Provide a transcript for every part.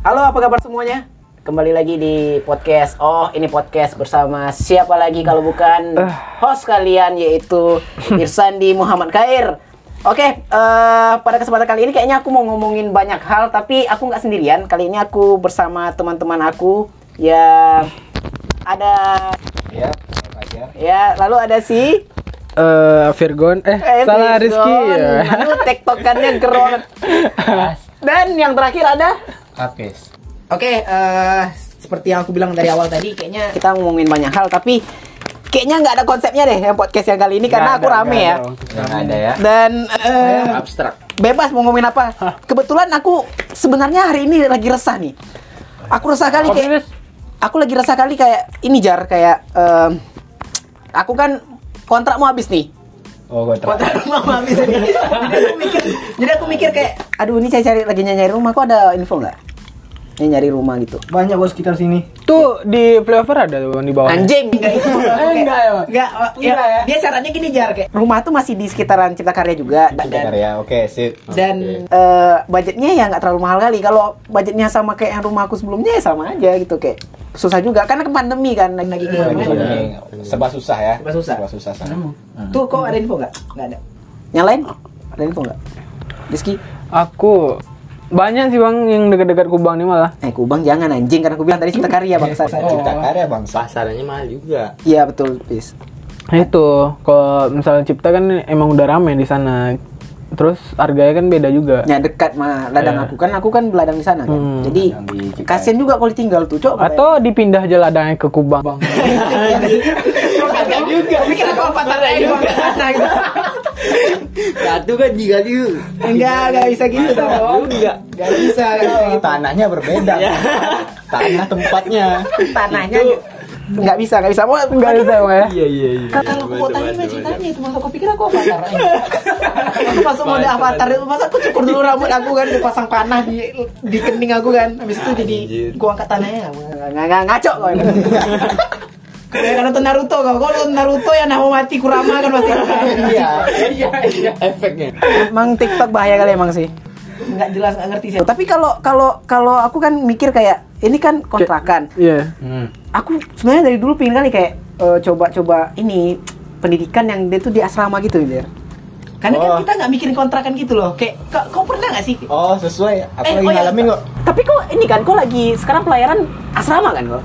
Halo, apa kabar semuanya? Kembali lagi di podcast. Oh, ini podcast bersama siapa lagi kalau bukan host kalian yaitu Irsandi Muhammad Khair. Oke, eh, pada kesempatan kali ini kayaknya aku mau ngomongin banyak hal, tapi aku nggak sendirian. Kali ini aku bersama teman-teman aku yang ada Ya, sama aja. ya, lalu ada si eh Virgon eh, Eh, salah Virgon. Rizky ya. Aduh, tektokannya gerot. Dan yang terakhir ada Apes. Oke, eh, seperti yang aku bilang dari awal tadi, kayaknya kita ngomongin banyak hal tapi kayaknya nggak ada konsepnya deh yang podcast yang kali ini karena aku rame ya. Yang ada ya. Dan eh, abstrak bebas mau ngomongin apa. Kebetulan aku sebenarnya hari ini lagi resah nih. Aku resah kali kayak aku lagi resah kali kayak ini jar kayak em, aku kan kontrak mau habis nih. Oh, gue terang. kontrak rumah mau habis ini. jadi aku mikir, jadi aku mikir kayak Aduh ini saya cari lagi nyari rumah kok ada info nggak? Ini nyari rumah gitu. banyak bos sekitar sini. tuh di flyover ada tuh di bawah Anjing. enggak ya Bang? Enggak, ya, dia caranya gini jar kayak. Rumah tuh masih di sekitaran Cipta Karya juga. Dan- Bentar ya. Oke, sip. Dan eh budgetnya ya nggak terlalu mahal kali kalau budgetnya sama kayak yang rumah aku sebelumnya ya sama aja gitu kayak susah juga karena ke pandemi kan lagi lagi Iya, Oke. gimana Ini serba susah ya. Serba susah. Serba susah sana. Hmm. tuh kok ada info nggak? Nggak ada. yang lain ada info nggak Rizky aku banyak sih bang yang dekat-dekat Kubang ini malah eh kubang jangan anjing karena aku bilang tadi cipta karya Oh, bangsa Saya cipta Nah, karya bangsa. pasarannya mahal juga iya betul bis itu kalau misalnya Cipta kan emang udah rame di sana terus harganya kan beda juga ya dekat mah Iya. ladang aku kan aku kan beladang di sana kan Hmm. jadi Yang di Cipta. kasian juga kalau tinggal tuh cok atau dipindah aja ladangnya ke Kubang Ada juga. Tapi kenapa avatar aja juga? satu kan juga tuh Enggak, nggak bisa gitu dong. Nggak juga bisa. nggak bisa gitu. Tanahnya berbeda. Iya. Tanah tempatnya. tanahnya nggak bisa nggak bisa mau enggak bisa bang ya iya iya iya Kalau aku mau tanya ceritanya itu masa kau pikir aku avatar aja. aku masuk mode avatar itu masa aku cukur dulu rambut aku kan dipasang panah di di kening aku kan habis itu jadi Anjir. gua angkat tanahnya nggak nggak ngaco kau ini. Kayak nonton Naruto kau, kau nonton Naruto yang nama mati Kurama kan pasti Iya. iya. efeknya emang tiktok bahaya kali emang sih nggak jelas nggak ngerti sih. Oh, tapi kalau kalau kalau aku kan mikir kayak ini kan kontrakan. iya Hmm. Aku sebenarnya dari dulu pingin kali kayak eh, coba-coba ini pendidikan yang dia tuh di asrama gitu biar. Karena kan Oh. kita nggak mikirin kontrakan gitu loh. Kayak kau, kau pernah nggak sih? Oh, sesuai. Aku Eh, lagi oh ya. ngalamin kok. Tapi kok ini kan kok lagi sekarang pelayaran asrama kan kok?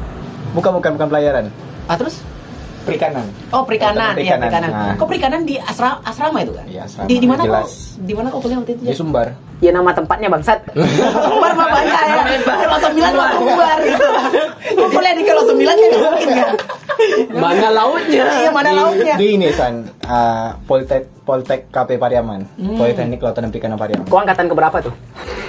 Bukan, bukan, bukan pelayaran. Ah terus? Perikanan. Oh perikanan, iya Perikanan. perikanan. Nah. Kok perikanan di asrama asrama itu kan? Iya, asrama, Di di mana kau? jelas. Di mana kau kuliah waktu itu? Di Sumbar. Ya nama tempatnya bangsat. Umbar mah banyak ya. Kalau sembilan mah umbar gitu. Kumpulnya di kalau sembilan ya nggak mungkin kan. mana lautnya Iya mana Di- lauknya. Di ini San, eh, Poltek Poltek KP Pariaman. Politeknik Lautan dan Perikanan Pariaman. Kok angkatan keberapa tuh?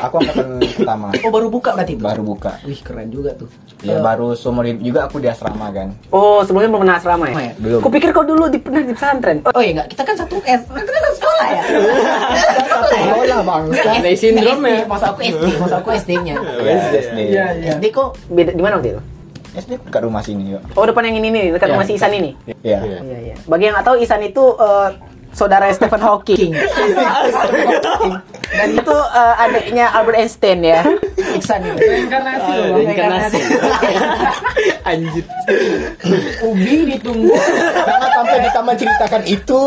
Aku angkatan pertama. Oh baru buka berarti itu. Baru buka. Wih keren juga tuh. Ya baru seumur hidup juga aku di asrama kan. Oh sebelumnya belum pernah asrama Oh, ya? ya. Belum. Kupikir kau dulu di, pernah di pesantren. Oh, Oh iya enggak, kita kan satu S. Kita kan satu sekolah ya. Kita kan satu sekolah ya. Sekolah bang. Nggak, Sunday S- syndrome nggak ya. SD, Maksud aku SD, maksud aku SD-nya. ya. SD. ya, Iya, SD kok beda di mana waktu itu? SD dekat rumah sini yuk. Oh depan yang ini nih, dekat Ya. rumah si Isan ini. Iya. Iya iya. Bagi yang nggak tahu Isan itu eh, saudara Stephen Hawking. Dan itu eh, adiknya Albert Einstein ya. Iya, Iksan gitu. Aduh, reinkarnasi anjir Ubi ditunggu. Jangan sampai ditambah ceritakan itu.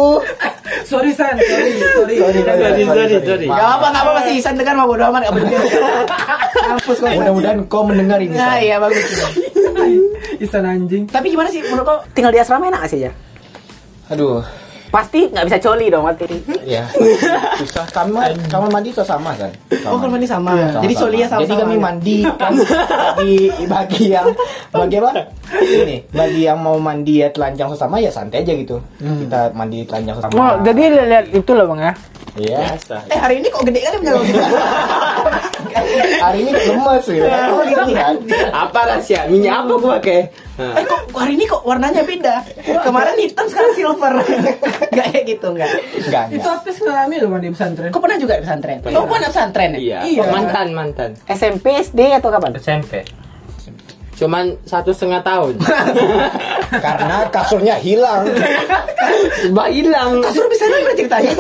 Sorry San, sorry, sorry. Sorry, sorry, sorry, sorry, sorry. Ya. Gak apa gak apa masih Isan kan tekan mah bodo amat enggak peduli. Kampus kok. Mudah-mudahan kau mendengar Ya, ini. Nah, San. iya bagus. Isan anjing Tapi gimana sih menurut kau Tinggal di asrama enak nggak sih ya? Aduh, Pasti nggak bisa coli dong pasti. ya. Susah kamar, kamar mandi susah sama kan. Oh, kamar mandi sama. Jadi Sama-sama. Solia sama. Jadi kami ya? mandi kan bagi bagi yang bagi apa? Ini bagi yang mau mandi ya telanjang sesama ya santai aja gitu. Kita mandi telanjang sesama. oh jadi lihat itu loh bang ya Iya. biasa Eh hari ini kok gede kali punya kau? Hari ini lemes gitu. kan. Oh, gitu kan. apa rahasia minyak apa gua pakai Eh kok kok hari ini kok warnanya beda? Kemarin hitam sekarang silver. Gak kayak gitu enggak. Enggak, enggak. tapi sekarang lo bang di pesantren Kau pernah juga di pesantren? Pernah. Oh, Kau pernah pesantren ya? iya Iya. mantan mantan SMP, SD atau kapan? SMP cuman satu setengah tahun Karena kasurnya hilang. bah hilang Kasur bisa lagi ceritanya.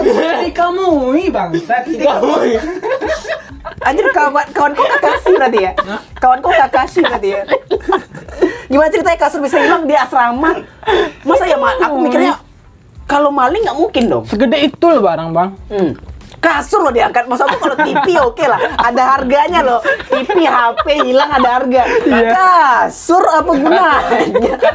kamu ini bang kamu Anjir kawan kawan kau Kakashi berarti ya? Kawan kau Kakashi berarti ya? Gimana ceritanya kasur bisa hilang di asrama? Masa ya, Ma- aku mikirnya kalau maling nggak mungkin dong. Segede itu loh barang bang. Hmm. Kasur lo diangkat, maksud aku kalau TV oke lah, ada harganya loh. TV, HP hilang ada harga. Iya. Kasur apa gunanya?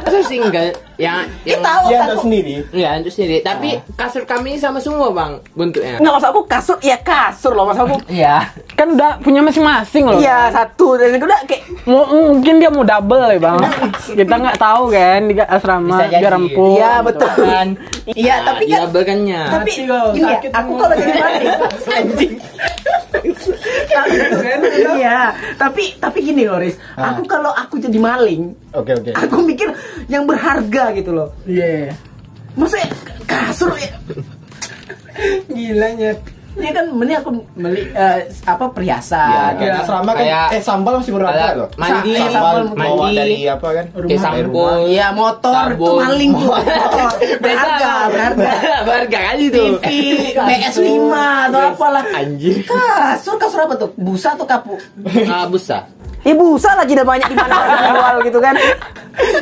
Kasur sih enggak yang ya, yang Iya. Kita Ah. tahu Dia kan? tahu sendiri. Enggak, itu sendiri. Tapi kasur kami ini sama semua, Bang, bentuknya. Nggak maksud aku kasur, ya kasur loh maksud aku. Iya. Kan udah punya masing-masing loh. Iya satu dan kedua kayak Mu- mungkin dia mau double ya bang. Iya. Kita nggak tahu kan di asrama gitu. Bisa jadi. biar empuk. Iya, betul. Kan. Iya, tapi kan Iya, belkannya. tapi ini ya, aku kalau jadi maling iya tapi tapi gini loh Riz Ah. aku kalau aku jadi maling Oke oke. aku mikir yang berharga gitu loh Iya maksudnya kasur ya, Gilanya ya kan mending aku beli eh, apa Iya, perhiasan Di asrama kan Kayak- eh sambal masih berharga kayak loh. mandi, Sa- sambal, sambal bawa mandi. dari apa kan? Kayak Dari sampo. Iya motor itu Sabun. maling tuh motor berharga berharga Berharga kali tuh. TV PS 5 atau apalah Iya, Anjir. kasur kasur apa tuh busa atau kapuk Ah, busa. ya busa lah tidak banyak di mana orang jual gitu kan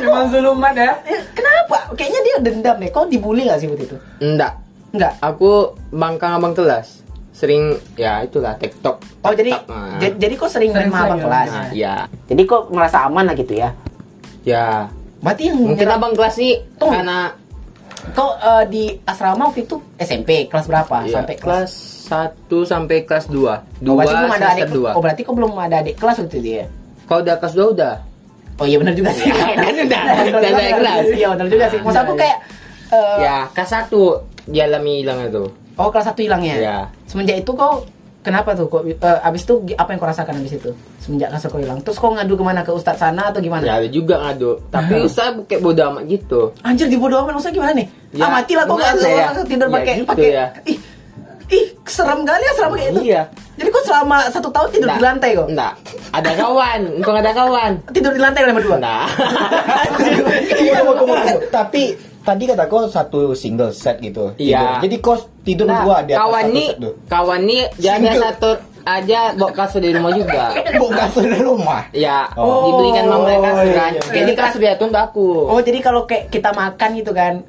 Memang zulumat ya Eh, kenapa kayaknya dia dendam deh kau dibully gak sih waktu itu Enggak. enggak Aku bangkang abang kelas. Sering ya itulah TikTok. oh jadi TikTok, nah. ja- jadi kok sering main sama abang kelas Nah, ya. jadi kok merasa aman lah gitu ya Ya. berarti yang Mungkin nyerang- abang kelas nih Tuh. karena kau eh, di asrama waktu itu SMP kelas berapa ya, sampai kelas kelas 1 sampai kelas 2. Oh, 2 berarti belum ada adik. semester 2. Oh, berarti kau belum ada adik kelas waktu itu ya? Kalau udah kelas 2 udah. Oh iya benar juga sih. Kan udah, udah Benar naik juga kelas. sih. Iya benar juga sih. Maksud aku kayak eh, Ya, kelas 1 dialami hilangnya tuh. oh kelas satu hilangnya. Iya. Semenjak itu kau kenapa tuh kok eh, abis itu apa yang kau rasakan abis itu? Semenjak kelas kau hilang. Terus kau ngadu kemana ke ustadz sana atau gimana? Ya ada juga ngadu. Tapi ustaz kayak bodo amat gitu. Anjir dibodoh amat maksudnya gimana nih? Ya, ah mati lah kok nggak ada gimana ya? orang tidur Ya, pakai gitu pakai ya. ih ih serem kali ya serem kayak itu. Iya. Jadi kok selama satu tahun tidur Nggak. di lantai kok? Enggak. Ada kawan, untung ada kawan. Tidur di lantai sama dua. Enggak. Iya, mau ke mana? Tapi tadi kata kau satu single set gitu. Iya. Tidur. Jadi kau tidur Nah, dua di atas kawan satu nih, set tuh. kawan nih dia ada Single. satu aja bawa kasur dari rumah juga. Bawa kasur dari rumah. Ya, Oh. dibelikan mama yang kasur kan. Iya. Jadi kasur dia tuh untuk aku. Oh jadi kalau kayak kita makan gitu kan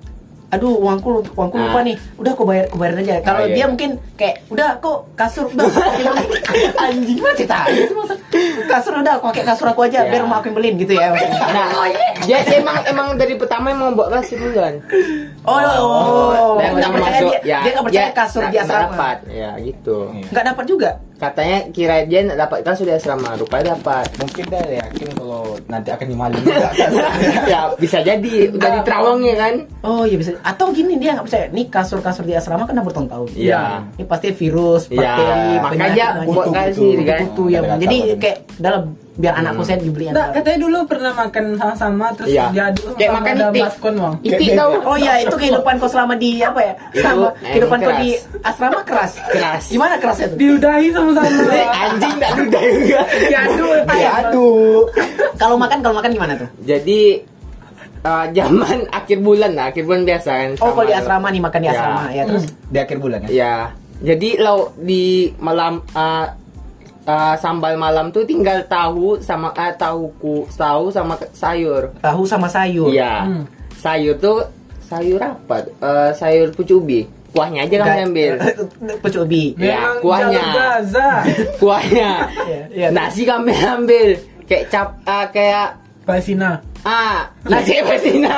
Aduh uangku lu- uangku lupa Nah. nih Udah aku bayar aku bayarin aja Kalau Oh, iya. dia mungkin kayak Udah kok kasur udah Anjing banget cerita Kasur udah aku pakai kasur aku aja Iya. Biar mau aku yang beliin gitu ya maksudnya. Nah, dia emang emang dari pertama emang bawa kasur duluan. Oh, oh, oh. Nggak Dia pertama percaya masuk, Ya, dia, dia nggak percaya kasur nggak- dia nggak asrama dapat. Ya, gitu. Iya. Nggak dapat juga Katanya kira dia nggak dapat kasur di asrama, rupanya dapat. Mungkin dia yakin kalau nanti akan dimaling juga kasurnya. ya bisa jadi udah diterawangnya kan Oh iya bisa Atau gini dia nggak percaya Nih kasur-kasur di asrama kena bertahun-tahun Iya. Ini pasti virus bakteri, ya makanya penyakit, buat Butuh, kasih butuh, kan itu ya Bang. jadi kayak dalam biar anakku Hmm. saya dibeliin Nggak, katanya dulu pernah makan sama-sama Terus Iya. diadu Kayak sama makan ada itik. baskon bang itik tau Oh iya, itu kehidupan kau selama di apa ya? Itu Selama emang kehidupan kau keras. di asrama keras. Keras. Gimana kerasnya tuh? Iya. Diludahi sama-sama Eh, anjing tak ludah juga Diadu ya. Diaduk. Kalau makan kalau makan gimana tuh? jadi eh, zaman akhir bulan lah akhir bulan biasa kan Oh, sama kalau di tuh. asrama nih makan di Ya. asrama ya, terus. Di akhir bulan ya. ya jadi lo di malam eh, eh, sambal malam tuh tinggal tahu sama eh, tahu ku tahu sama ke- sayur Tahu sama sayur. iya sayur tuh sayur apa Eh, sayur pucubi kuahnya aja kamu ambil Pecobi. Ya, Memang kuahnya. jalur Gaza kuahnya iya. nasi kami ambil kayak cap ah, kayak Palestina ah Iya. nasi Palestina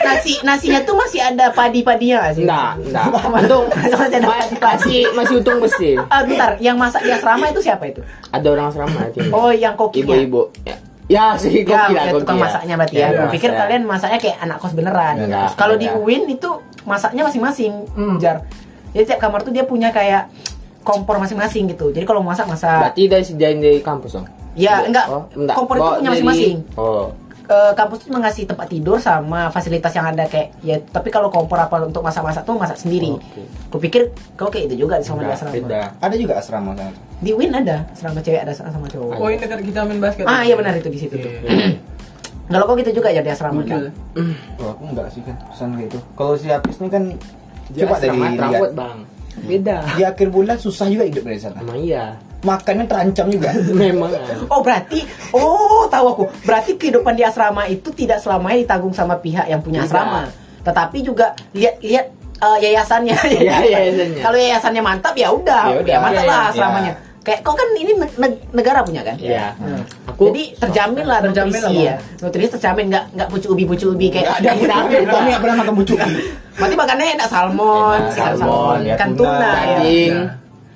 Nasi nasinya tuh masih ada padi-padinya nggak sih? enggak enggak untung Masih ada ma- masih masih untung bersih Ah, bentar, yang masak di asrama itu siapa itu? ada orang asrama itu Oh, yang kokinya. Hmm. ibu-ibu ya, ya sih Ya, koki lah ya, koki tukang ya. masaknya berarti ya. Ya, Gua pikir ya. kalian masaknya kayak anak kos beneran. Enggak, Terus Kalau di enggak. UIN itu masaknya masing-masing, Hmm. jar. Jadi tiap kamar tuh dia punya kayak kompor masing-masing gitu. Jadi kalau masak masak. berarti dari sejain dari kampus dong Iya. Oh, Ya, enggak. Kompor itu Bawa punya dari- masing-masing. oh Eh, kampus tuh mengasih tempat tidur sama fasilitas yang ada kayak ya tapi kalau kompor apa untuk masak-masak tuh masak sendiri. Oke. Gue pikir kau kayak itu juga sama di enggak, asrama. beda Ada juga asrama sana. Di UIN ada asrama cewek ada asrama cowok. Poin dekat kita main basket Ah iya benar itu di situ tuh. Kalau kau gitu juga ya di asrama. Gokil. Oh, aku enggak sih kan pesan kayak itu. Kalau si Hafiz ini kan Dia coba dari asrama lihat. terawat bang beda Di akhir bulan susah juga hidup dari sana. emang iya makannya terancam juga. Memang. Oh berarti, oh tahu aku. Berarti kehidupan di asrama itu tidak selamanya ditanggung sama pihak yang punya Tidak. asrama, tetapi juga lihat-lihat eh, yayasannya. Ya, yayasannya. Kalau yayasannya mantap ya Iya, Ya udah, udah. ya mantap Ya, lah ya. asramanya. Kayak kau kan ini neg- neg- negara punya kan? Iya. Hmm. Aku- Jadi terjamin lah Terjamin nutrisi ya. lah, Nutrisi terjamin nggak nggak pucu ubi pucu ubi kayak Ada Iya, yang Tapi kami nggak pernah makan bucuki. Berarti makannya enak salmon, Enak, ikan salmon, ya, ikan tuna, tuna, ya. Daging.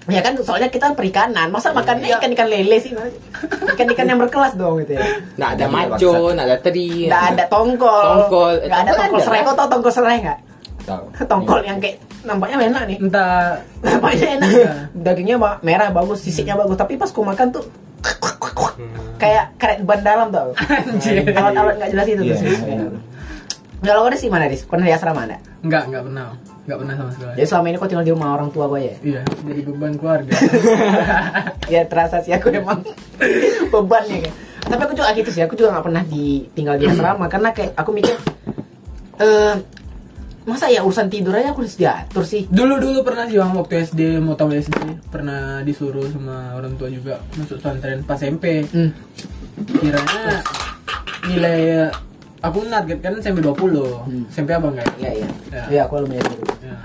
Ya kan soalnya kita perikanan, masa makannya Iya. ikan-ikan lele sih? Ikan-ikan yang berkelas dong gitu ya. Nggak ada maco, nggak ada teri. Nggak ada tongkol. Iya. Tongkol. Nggak ada Tongkol tongkol ada. serai. Kau tau tongkol serai nggak? Tahu. Tongkol yang kayak nampaknya enak nih. entah Nampaknya enak. Dagingnya ba- merah bagus, sisiknya bagus. Tapi pas ku makan tuh kayak karet ban dalam tau. Alat-alat nggak jelas itu tuh. Iya, sih. enak. Kalau kau ada sih mana Dis? Pernah di asrama nggak? nggak nggak pernah nggak pernah sama sekali Jadi selama ini kau tinggal di rumah orang tua kau ya? iya jadi beban keluarga ya terasa sih aku emang beban ya kan. tapi aku juga gitu sih aku juga nggak pernah ditinggal di asrama karena kayak aku mikir eh masa ya urusan tidur aja aku harus diatur sih dulu dulu pernah sih Bang, waktu SD mau tahu SD pernah disuruh sama orang tua juga masuk pesantren pas SMP hmm. kiranya nilai aku target kan SMP 20 SMP apa enggak Iya, ya ya Ya. ya aku lumayan tidur ya.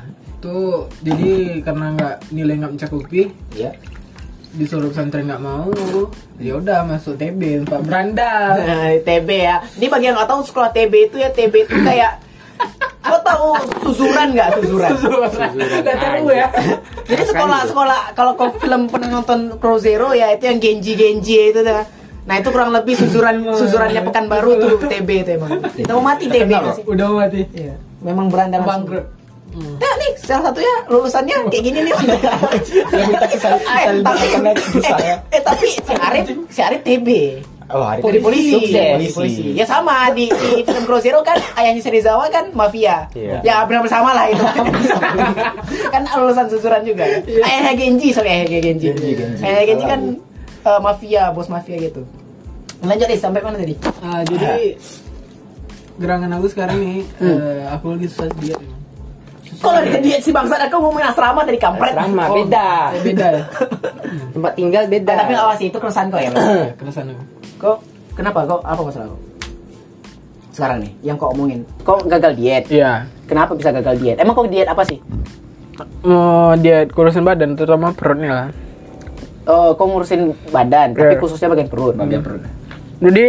itu jadi karena nggak nilai nggak mencakupi ya Iya. disuruh pesantren nggak mau ya udah masuk TB tempat berandal Nah, TB ya ini bagi yang nggak tahu sekolah TB itu ya TB itu kayak Kau tahu susuran nggak susuran? nggak tahu ya Jadi sekolah-sekolah kalau kau film pernah nonton Crow Zero ya itu yang Genji Genji itu tuh. Nah itu kurang lebih susuran Oh. susurannya Pekanbaru tuh TB itu emang. Kita mau mati TB sih. udah mati Iya. Memang berandal langsung. bangkrut Ya nih salah satunya lulusannya kayak gini nih. Iya. minta kesal- Eh, kesal- tapi kesal- kesal- kesal- eh, eh, tapi si Arif si Arif TB. Oh, hari Jadi polisi. Polisi. Polisi. Ya sama di, di film Crow Zero kan ayahnya Serizawa kan mafia. Iya. Ya benar sama lah itu. kan lulusan susuran juga. Ayahnya Genji, sorry ayahnya Genji. Iya. Genji, Genji. Ayahnya Genji kan eh, mafia, bos mafia gitu. Lanjut deh sampai mana tadi? Ah, jadi gerangan aku sekarang nih eh, aku lagi susah diet emang. Kok lagi ke diet si bangsa aku ngomongin asrama dari kampret. Oh. Asrama beda. Eh, beda ya Tempat tinggal beda. Ah, tapi awas itu keresahan kau ya. Bang? Ya, keresahan aku kau kenapa kau apa masalah kau? Sekarang nih yang kau omongin. Kau gagal diet. Iya. Kenapa bisa gagal diet? Emang kau diet apa sih? Mau diet Oh, kurusin badan terutama perutnya lah. Oh, kau ngurusin badan, tapi Iya. khususnya bagian perut. Bagian perut. Jadi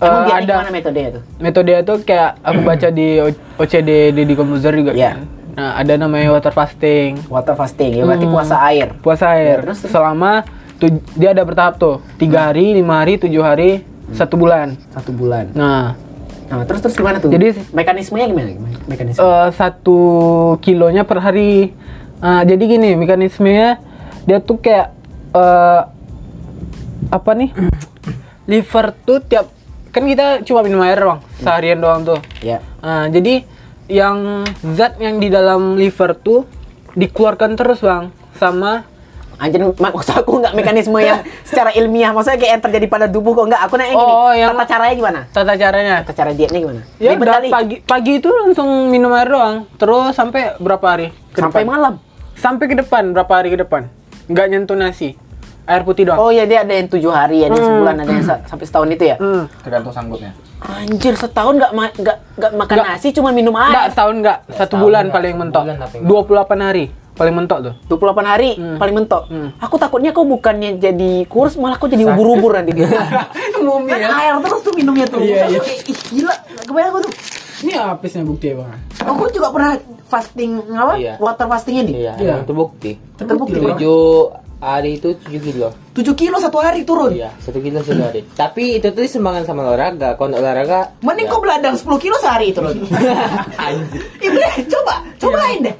Emang eh, diet ada gimana metodenya tuh? metode itu kayak aku baca di O- OCD di, di komputer juga Iya. kan. Nah, ada namanya water fasting. Water fasting, ya berarti Hmm. puasa air. Puasa air. Iya, terus, terus? Selama tu- dia ada bertahap tuh. Tiga hari, lima hari, tujuh hari, Hmm. satu bulan. Satu bulan. Nah, Nah, terus terus gimana tuh? Jadi- mekanismenya gimana? Oh. Mekanisme. eh, satu kilonya per hari. Ah, jadi gini mekanismenya dia tuh kayak eh, apa nih? Liver tuh tiap kan kita cuma minum air doang seharian doang tuh. Ya. Ah, jadi yang zat yang di dalam liver tuh dikeluarkan terus bang sama Anjir, mak- maksud aku nggak mekanisme yang secara ilmiah, maksudnya kayak yang terjadi pada tubuh kok nggak? Aku nanya gini, Oh, yang- tata caranya gimana? tata caranya. Tata cara dietnya gimana? Ya Ribet udah kali. pagi pagi itu langsung minum air doang terus sampai berapa hari? ke sampai depan? malam. Sampai ke depan berapa hari ke depan? Nggak nyentuh nasi, air putih doang. Oh ya dia ada yang tujuh hari, ada yang sebulan, ada yang sa- sampai setahun itu ya. Hmm. Tergantung sanggupnya. Anjir, setahun nggak ma- nggak nggak makan Nggak. nasi, cuma minum Enggak, air. setahun enggak. Satu bulan paling mentok. Bulan tapi 28 hari paling mentok tuh. 28 hari paling mentok. Hmm. Aku takutnya kau bukannya jadi kurus malah kau jadi ubur-ubur nanti dia. Ngumi Kan air terus tuh minumnya tuh. Iya, Terus iya. aku kayak, Ih, gila, nggak kebayang aku tuh. ini habisnya bukti ya bang Aku juga pernah fasting apa? Iya. Water fasting ini. Iya, Iya. emang terbukti. Terbukti. Tujuh hari itu tujuh kilo. 7 kilo satu hari turun. Iya, satu kilo satu hari. Tapi itu tuh sumbangan sama olahraga. Kalau nggak olahraga, ya. Mending kau beladang 10 kilo sehari turun. Ibu deh, coba, cobain deh.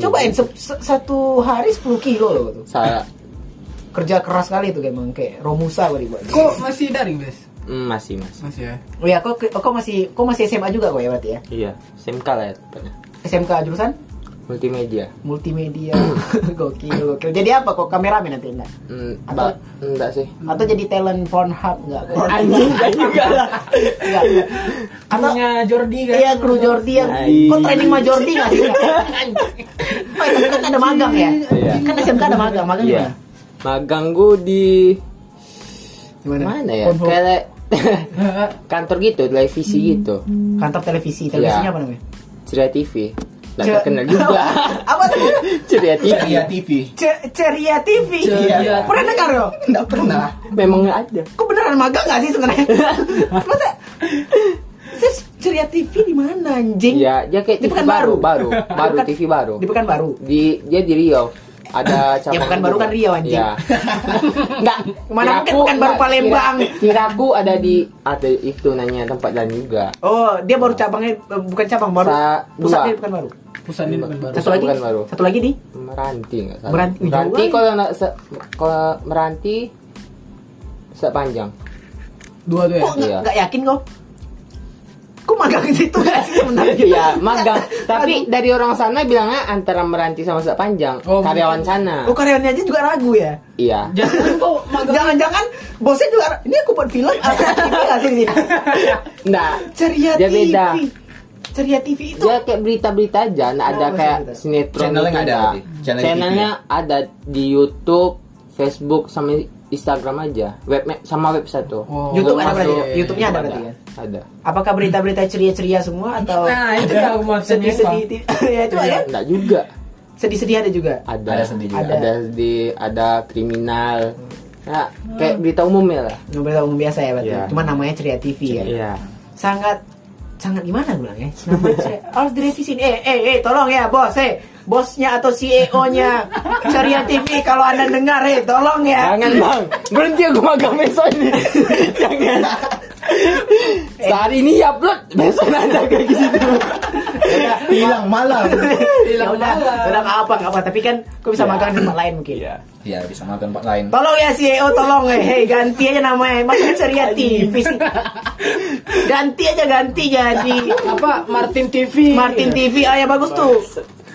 Cobain se- se- satu hari 10 kilo loh tuh. saya Kerja keras kali tuh kayak emang kayak Romusa kali buat. kok masih daring guys mm, masih masih. masih ya Oh iya, kok kok masih kok masih SMA juga kok ya berarti ya? Iya, SMK lah ya tepatnya. SMK jurusan Multimedia. multimedia. gokil, gokil. Jadi apa kok kameramen nanti enggak? Mm, Atau- mbak, enggak sih. Atau jadi talent Pornhub enggak? Anjing, juga lah. Enggak. Atau punya Jordi kan Iya kru Jordi yang Anjing. kok training sama Jordi nggak sih? Pak, tapi kan ada magang ya? Iya. Kan SMK ada magang, magang Iya. gimana? magang gue di Gimana? mana ya kayak kantor gitu televisi gitu Kantor televisi, televisinya Iya. apa namanya? ceria TV lah Ceria- terkenal juga Apa tuh? ceria TV Ceria TV. Ce- Ceria TV. Ceria. Pernah dengar lo? Enggak pernah. memang nggak ada Kok beneran magang gak sih sebenarnya? Masa Terus Ceria TV di mana anjing? ya dia kayak Di TV Pekanbaru? baru baru baru Bukan- TV baru Di Pekanbaru. di dia di Riau ada cabang Ya, Pekanbaru juga. kan Riau, anjing. ya. nggak Mana mungkin Pekanbaru Palembang. kiraku ada di ada itu nanya tempat lain juga Oh, dia baru cabangnya eh, bukan cabang baru. Sa- pusatnya dua. bukan baru. Pusatnya bukan baru. Satu lagi. Pekanbaru. Satu lagi di meranti nggak salah Meranti, jauh kan? meranti lagi. kalau nggak se- kalau meranti sepanjang Dua tuh ya. Kok nggak Iya. nggak yakin kok? Kok magang di situ gak sih sebenarnya? Iya, magang. Tapi dari orang sana bilangnya antara meranti sama sepanjang Oh, karyawan sana. Oh karyawannya aja juga ragu ya. Iya. Jangan kau magang. Jangan-jangan bosnya juga ra- ini aku buat film ada TV gak sih di sini? Nggak. Ceria Dia TV. beda. Ceria TV itu Nah, Dia kayak berita-berita aja, nggak ada Oh, kayak berita. sinetron. Channelnya nggak ada nggak. berarti? Channel Channelnya ya? ada di YouTube, Facebook sama Instagram aja. Web sama website tuh. Oh. YouTube Belum ada berarti masuk. ya? YouTube-nya ada berarti ya? Ada. apakah berita-berita ceria-ceria semua atau Nah, itu Iya. yang aku maksudnya, sedih-sedih ya itu kan Iya, Nggak juga. sedih-sedih ada juga Ada. Ada sedih juga. Ada, sedih, ada kriminal. Nah, Hmm. kayak berita umumnya lah. ngobrol umum biasa ya berarti Iya. cuma namanya ceria TV ya sangat sangat gimana gue bilang ya Namanya ceria- harus direvisi nih. eh eh eh tolong ya bos eh bosnya atau CEO nya ceria TV kalau anda dengar eh tolong ya Jangan bang, berhenti aku magang besok ini. Eh. Jangan. Saat ini ya upload, besok ada kayak gitu. Hilang malam. ya udah udah nggak apa nggak apa tapi kan kok bisa magang di tempat lain mungkin Iya, bisa makan tempat lain. Tolong ya CEO, tolong eh, hey, ganti aja namanya. Masih ceria TV sih. Ganti aja ganti jadi Apa Martin TV? Eh, Martin TV. Ah ya bagus tuh.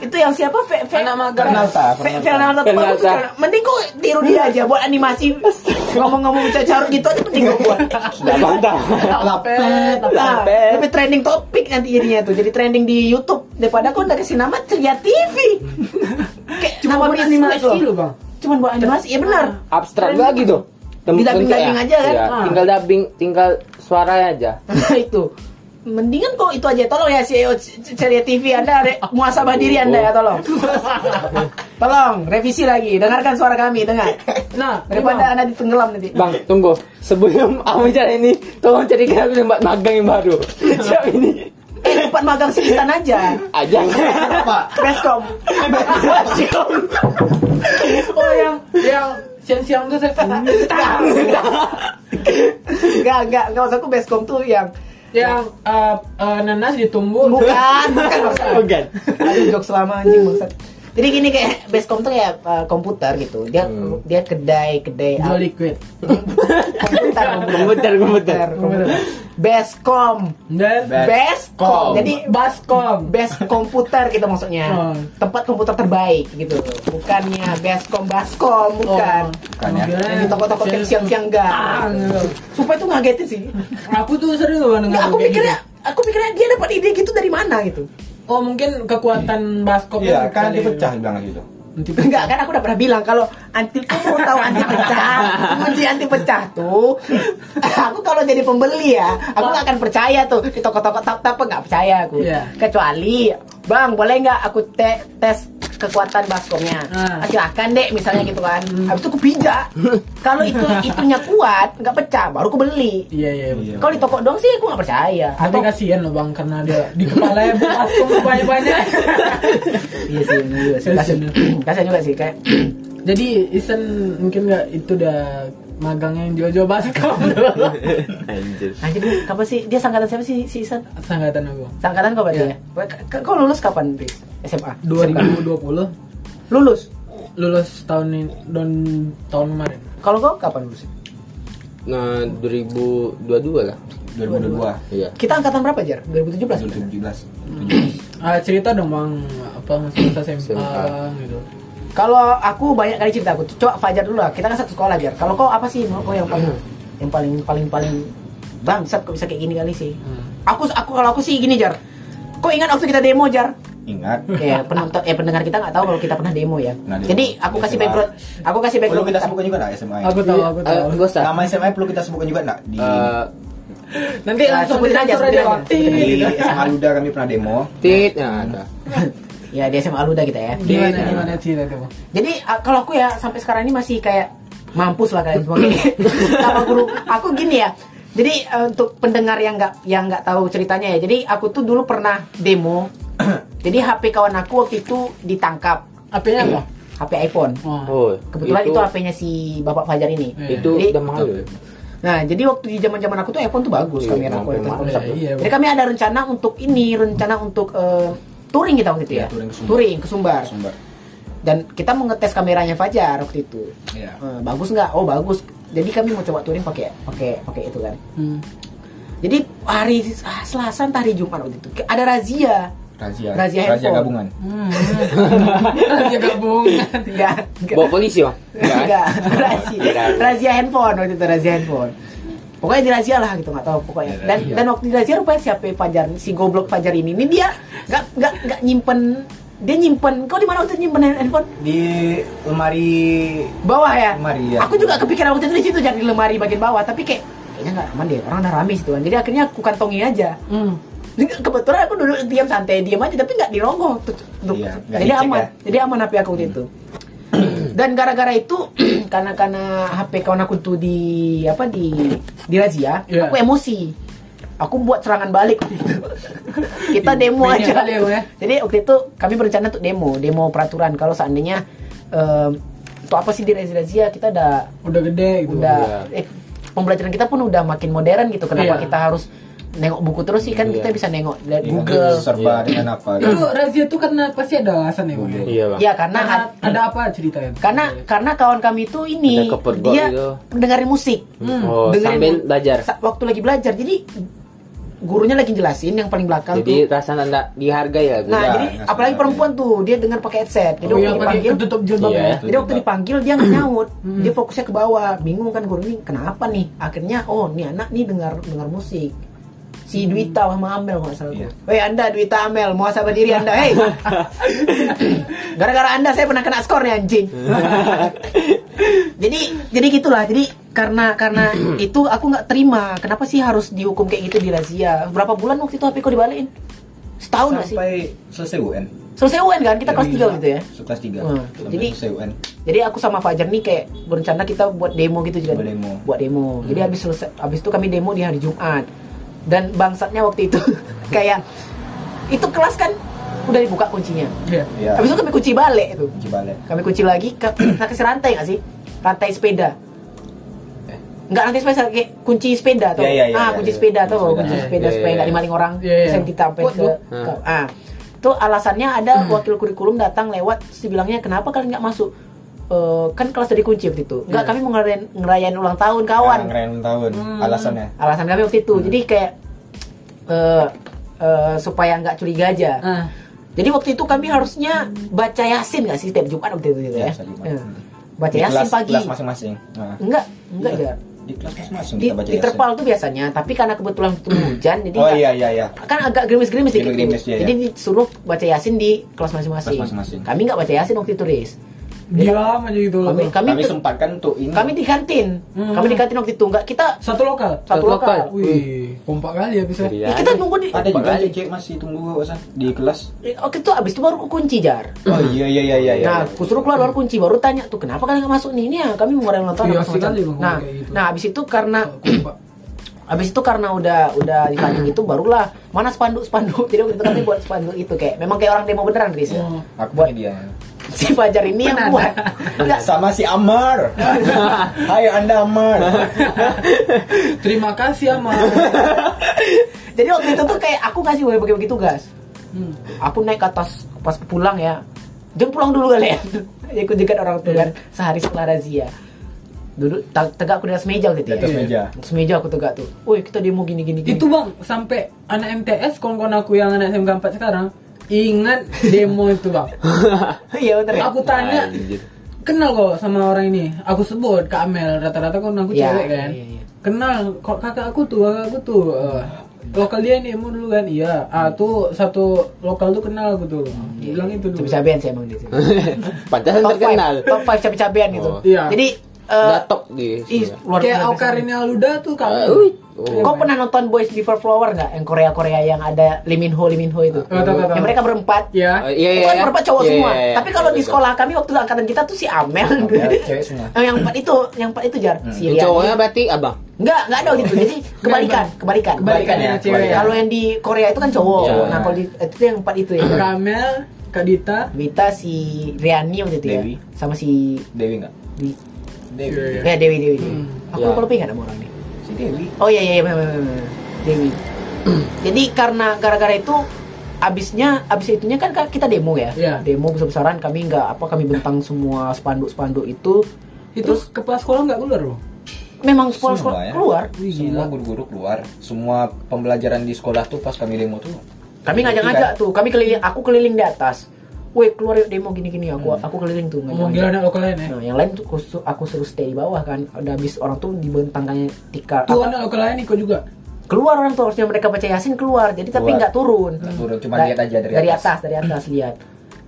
Itu yang siapa? Fe, fe, Anak magang. Fernalta, Fe- Fernaldo tuh bagus tuh. Fernaldo. Mending kok tiru dia aja buat animasi. Ngomong-ngomong cacar gitu aja mending gue buat. Gak bantah. Lapet. Nah, lebih trending topik nanti jadinya tuh. Jadi trending di YouTube daripada kau udah kasih nama ceria TV. Kayak Cuma nama buat bisnis animasi loh. lu bang. Cuman buat animasi, ya benar. Abstrak lagi tuh. Didubbing- bentuknya. dubbing aja kan? Iya, Ah. Tinggal dubbing, tinggal suaranya aja. Nah itu Mendingan kok itu aja tolong ya CEO C- C- Ceria TV Anda re- muasabah diri Anda ya tolong. tolong revisi lagi, dengarkan suara kami, dengar. Nah, Daripada Anda ditenggelam nanti. Bang, tunggu. Sebelum aku cari ini, tolong carikan aku tempat magang yang baru. Siap ini. Eh, tempat magang si Isan aja. Aja. Apa? Beskom. Oh yang yang siang-siang tuh saya Enggak, enggak, enggak usah aku Beskom tuh yang yang eh, eh, nanas ditumbuk. bukan, bukan maksud. Bukan. Aduh, jok selama anjing maksud. Jadi gini kayak Beskom tuh kayak uh, komputer gitu. Dia dia kedai-kedai Jual liquid. komputer, Komputer, komputer. komputer. Beskom. Dan Bestcom. Jadi baskom. best komputer gitu maksudnya. Oh. Tempat komputer terbaik gitu. Bukannya bestcom baskom bukan. Bukan ya. Kan Oh. Yang di toko-toko kayak siang-siang enggak. Eh, Ah, enggak. Sumpah itu ngagetin sih. Aku tuh sering loh Enggak, dengar aku kayak mikirnya gitu. aku mikirnya dia dapat ide gitu dari mana gitu. Oh mungkin kekuatan baskom Iya, kan dia pecah bilang gitu. Nanti pecah. Enggak kan aku udah pernah bilang kalau anti kamu mau tahu anti pecah, kunci anti pecah tuh. aku kalau jadi pembeli ya, aku nggak akan percaya tuh di toko-toko tap tap nggak percaya aku. Iya. Kecuali, bang boleh nggak aku te- tes kekuatan baskomnya? Ah. Hmm. Ah, Silahkan deh misalnya gitu kan. Habis itu aku pijak. kalau itu itunya kuat, nggak pecah, baru aku beli. Iya iya. betul. Kalau di toko dong sih aku nggak percaya. Tapi kasihan loh bang karena dia di kepala ya baskom banyak-banyak. Iya sih, bener juga sih. Kasian kasian juga sih kayak. Jadi Isen mungkin nggak itu dah magangnya yang jojo baskom dulu. Anjir. Anjir, dia- Nah, kapan sih dia sangkatan siapa sih si Isan? Sangkatan aku. Sangkatan kau berarti Iya. ya? K- k- Kau lulus kapan, Bis? SMA? 2020 Lulus? lulus tahun ini tahun tahun kemarin. Kalau kau kapan lulus? Nah, 2022 lah. 2022. Iya. Kita angkatan berapa, Jar? 2017? 2017. Ah, cerita dong bang apa masa SMA SMA. gitu. Kalau aku banyak kali cerita aku. Coba Fajar dulu lah. Kita kan satu sekolah, Jar. Kalau kau apa sih? Kau yang paling yang paling paling paling bangsat kok bisa kayak gini kali sih? Hmm. Aku aku kalau aku sih gini, Jar. Kau ingat waktu kita demo, Jar? Ingat. ya penonton eh pendengar kita nggak tahu kalau kita pernah demo ya Nah, demo. jadi aku kasih SMA. background aku kasih Perlu background kita sebutkan juga nggak SMA? Aku tahu, aku tahu. Eh, gua sa- Nama SMA perlu kita sebutkan juga nggak di eh, Nanti Nah, langsung ya, sebutin aja, disensor sebutin aja, aja. Bang. Tit. di iya. SMA Luda kami pernah demo. tit nah ada. ya di SMA Luda kita ya Gimana gimana cerita tuh? Bang? jadi a- kalau aku ya sampai sekarang ini masih kayak mampus lah kalian semua sama guru aku gini ya jadi eh, untuk pendengar yang nggak yang nggak tahu ceritanya ya jadi aku tuh dulu pernah demo jadi HP kawan aku waktu itu ditangkap HP-nya apa? HP iPhone Oh. Oh, kebetulan itu, Iya. HP-nya si bapak Fajar ini itu Jadi- udah mahal ya. Nah, jadi waktu di zaman-zaman aku tuh iPhone tuh bagus Iya, kamera sampai kualitas mana bagus. ya, iya, jadi kami ada rencana untuk ini, rencana untuk eh, touring kita waktu itu ya. Iya, touring ke Sumbar. Touring ke Sumbar. Sumber. Dan kita mau ngetes kameranya Fajar waktu itu. Iya. Eh, bagus nggak? Oh, bagus. Jadi kami mau coba touring pakai pakai pakai itu kan. Hmm. Jadi hari ah, Selasa entah hari Jumat waktu itu ada razia. Razia. Razia Razia handphone. gabungan. Hmm. Dia gabung. Enggak. Ya, enggak. Bawa polisi, Bang. Enggak, razia, razia handphone waktu itu razia handphone. Pokoknya dirazia lah gitu, nggak tahu pokoknya. Dan dan waktu dirazia rupanya siapa Fajar, si goblok Fajar ini, ini dia nggak nggak nggak nyimpen, dia nyimpen. Kau di mana waktu itu nyimpen hand- handphone? Di lemari Bawah ya. Lemari, ya. Aku juga kepikiran waktu itu di situ jadi di lemari bagian bawah, tapi kayak kayaknya nggak aman deh, orang udah rame situ kan. Jadi akhirnya aku kantongi aja. Hmm. Jadi Kebetulan aku duduk diam santai diam aja tapi nggak dirogoh. Tuh, tuh. Iya, nggak Jadi dicek aman. ya. Hmm. Jadi aman HP aku waktu itu. Dan gara-gara itu karena karena HP kawan aku tuh di apa di dirazia, Iya. aku emosi. Aku buat serangan balik waktu itu. Kita demo Banyak aja. kali ya, Bu, ya. Jadi waktu itu kami berencana untuk demo, demo peraturan kalau seandainya em, untuk apa sih di razia kita ada Udah gede gitu. udah Iya. eh, pembelajaran kita pun udah makin modern gitu kenapa Iya. kita harus nengok buku terus sih kan kita bisa nengok dari Iya, Google serba dengan apa? Itu razia tuh karena pasti ada alasan ya, Bang. ya? Iya, Bang. ya karena Karena ada apa ceritanya? Iya. karena karena kawan kami itu ini Ada kepergok dia gitu. dengerin musik Oh, sambil mu- belajar. Hmm, sa- waktu lagi belajar jadi gurunya lagi jelasin yang paling belakang Jadi tuh rasa enggak dihargai ya. nah Iya, jadi nggak apalagi sadar, perempuan tuh dia dengar pakai headset jadi Oh, waktu yang tadi dipanggil ketutup jilbab Iya. ya. jadi waktu dipanggil dia nggak nyaut Hmm. dia fokusnya ke bawah bingung kan guru ini kenapa nih akhirnya oh nih anak nih dengar dengar musik si Duita sama Amel kalau nggak salah Hmm. Iya. Weh anda Duita Amel muhasabah diri anda hei gara-gara anda saya pernah kena skor nih anjing jadi jadi gitulah jadi karena karena itu aku nggak terima kenapa sih harus dihukum kayak gitu di razia berapa bulan waktu itu HP ku dibalikin setahun nggak sih Sampai Iya. selesai UN. selesai UN kan kita kelas 3 gitu ya Kelas 3. Wah, Sampai jadi- selesai UN. jadi aku sama Fajar nih kayak berencana kita buat demo gitu juga. Buat demo. Hmm. Buat demo. Jadi habis selesai habis itu kami demo di hari Jumat. Dan bangsatnya waktu itu kayak itu kelas kan udah dibuka kuncinya. Iya. Iya. Habis itu kami kunci balik itu. Cibale. Kami kunci lagi ke kita kasih rantai nggak sih? Rantai sepeda. Enggak rantai sepeda kayak kunci sepeda tuh. Iya, iya, iya, ah, iya, kunci iya. sepeda tuh, Kunci kunci sepeda. sepeda Iya, supaya iya, nggak iya. dimaling orang. Iya, iya. Terus yang kita sampai Kuat, Hmm. ke, Bu. ke ah. Itu alasannya ada wakil kurikulum datang lewat terus dibilangnya kenapa kalian nggak masuk? Eh, kan kelas dari kunci waktu itu. Iya. Enggak, kami mau ngerayain, ngerayain ulang tahun kawan. Yang Ngerayain ulang tahun. Hmm. Alasannya. Alasan kami waktu itu. Hmm. Jadi kayak eh eh, supaya nggak curiga aja. Hmm. Ah. Jadi waktu itu kami harusnya baca Yasin nggak sih setiap Jumat waktu itu gitu ya? Iya, setiap Jumat. Iya. Baca Di Yasin kelas, pagi. kelas masing-masing. Nah. Enggak, enggak Iya. ya. Di kelas masing-masing Di, kita baca di terpal tuh biasanya, tapi karena kebetulan itu hujan jadi Yasin. Oh nggak- iya iya iya. kan agak gerimis-gerimis dikit. gitu. Gerimis-gerimis, iya, Jadi disuruh baca Yasin di kelas masing-masing. Kelas masing-masing. Kami nggak baca Yasin waktu itu, Riz. Diam aja gitu Kami loh. Bang. kami Kami, kami, sempatkan untuk ini. di kantin. Hmm. Kami di kantin waktu itu enggak kita Satu lokal. satu Satu lokal. lokal. Wih, kompak kali ya bisa. Jadi Ya, kita nunggu di Iya, ada juga cek masih tunggu gua usah di kelas. Oke tuh abis itu baru aku kunci jar. Oh iya iya iya iya. iya. Nah, aku suruh keluar luar kunci baru tanya tuh kenapa kalian nggak masuk nih ini ya kami mau ngerayain ulang tahun Iya, apa segala sekali, macam. Bang, Nah, kayak gitu. nah abis itu karena Kompak. abis itu karena udah udah di kantin itu barulah mana spanduk spanduk jadi waktu itu kami buat spanduk itu kayak memang kayak orang demo beneran Riz ya. Oh. aku buat- ini dia. Si Fajar ini yang buat. Enggak, Sama si Amar. Hai Anda Amar. Terima kasih Amar. jadi waktu itu tuh kayak aku ngasih bagi-bagi tugas. Hmm. Aku naik ke atas pas pulang ya. Jangan pulang dulu kalian. Ikut juga orang tuh Iya. kan sehari setelah razia. Duduk ta- tegak aku di atas meja gitu Di ya. atas meja. Terus meja aku tegak tuh. Woi, kita demo gini gini gini. Itu bang, sampai anak MTS kawan-kawan aku yang anak SMK 4 sekarang ingat demo itu bang. Iya bener ya. Aku tanya, Anjir. kenal kok sama orang ini. Aku sebut Kak Amel, rata-rata kan aku Iya, cewek kan. iya, iya. Kenal, kok kakak aku tuh, kakak aku tuh. eh, lokal dia ini emu dulu kan iya ah tuh satu lokal tuh kenal gitu loh Hmm, iya, bilang itu dulu Cabe-cabean sih emang dia sih. Pantasan Top terkenal. 5, top 5 cabe-cabean gitu. Oh. Iya. Jadi eh Udah top dia. ih, sudah. luar kayak biasa. Ocarina Luda tuh kamu Eh, uy. Oh. Kau pernah nonton Boys Before Flower nggak? Yang Korea Korea yang ada Lee Min Ho, Lee Min Ho itu. Tahu, tahu, tahu. Yang mereka berempat. ya Oh, iya, itu iya, kan iya. berempat cowok Iya, semua. iya, iya. Tapi kalau di Betul. sekolah kami waktu angkatan kita tuh si Amel. Ya, cewek semua. Eh, yang empat itu, yang empat itu jar. Si Hmm. Yang Rian. cowoknya berarti abang. Enggak, enggak ada gitu. Jadi kebalikan, kebalikan. kebalikan ya cewek ya Kalau yang di Korea itu kan cowok. Iya. Nah, kalau di itu tuh yang empat itu ya. Kamel Kadita Wita si Riani waktu itu ya. Dewi. Sama si Dewi enggak? Wi- Iya, Dewi. Hmm. Ya Dewi Dewi. Dewi. Aku Ya. lupa lupa ingat sama orang ini. Si Dewi. Oh iya iya iya benar, benar, benar, benar. Dewi. Jadi karena gara-gara itu abisnya abis itunya kan kan kita demo ya. Iya. Demo besar-besaran kami nggak apa kami bentang semua spanduk-spanduk itu. itu kepala sekolah nggak keluar loh Memang sekolah-sekolah Semua ya. keluar. Wih, Semua gila. guru-guru keluar. Semua pembelajaran di sekolah tuh pas kami demo tuh. Kami ngajak-ngajak kan? tuh. Kami keliling aku keliling di atas. Woi keluar yuk demo gini-gini Hmm. aku aku keliling Oh, tuh manggil ngajak. anak lokal lain ya Nah, yang lain tuh aku, su- aku suruh stay di bawah kan. Udah habis orang tuh dibentang kayak tikar. tuh apa- anak lokal lain ikut juga keluar orang tuh harusnya mereka baca yasin keluar jadi tapi Keluar. nggak turun Nggak turun, cuma Nggak- lihat aja dari dari atas. atas dari atas lihat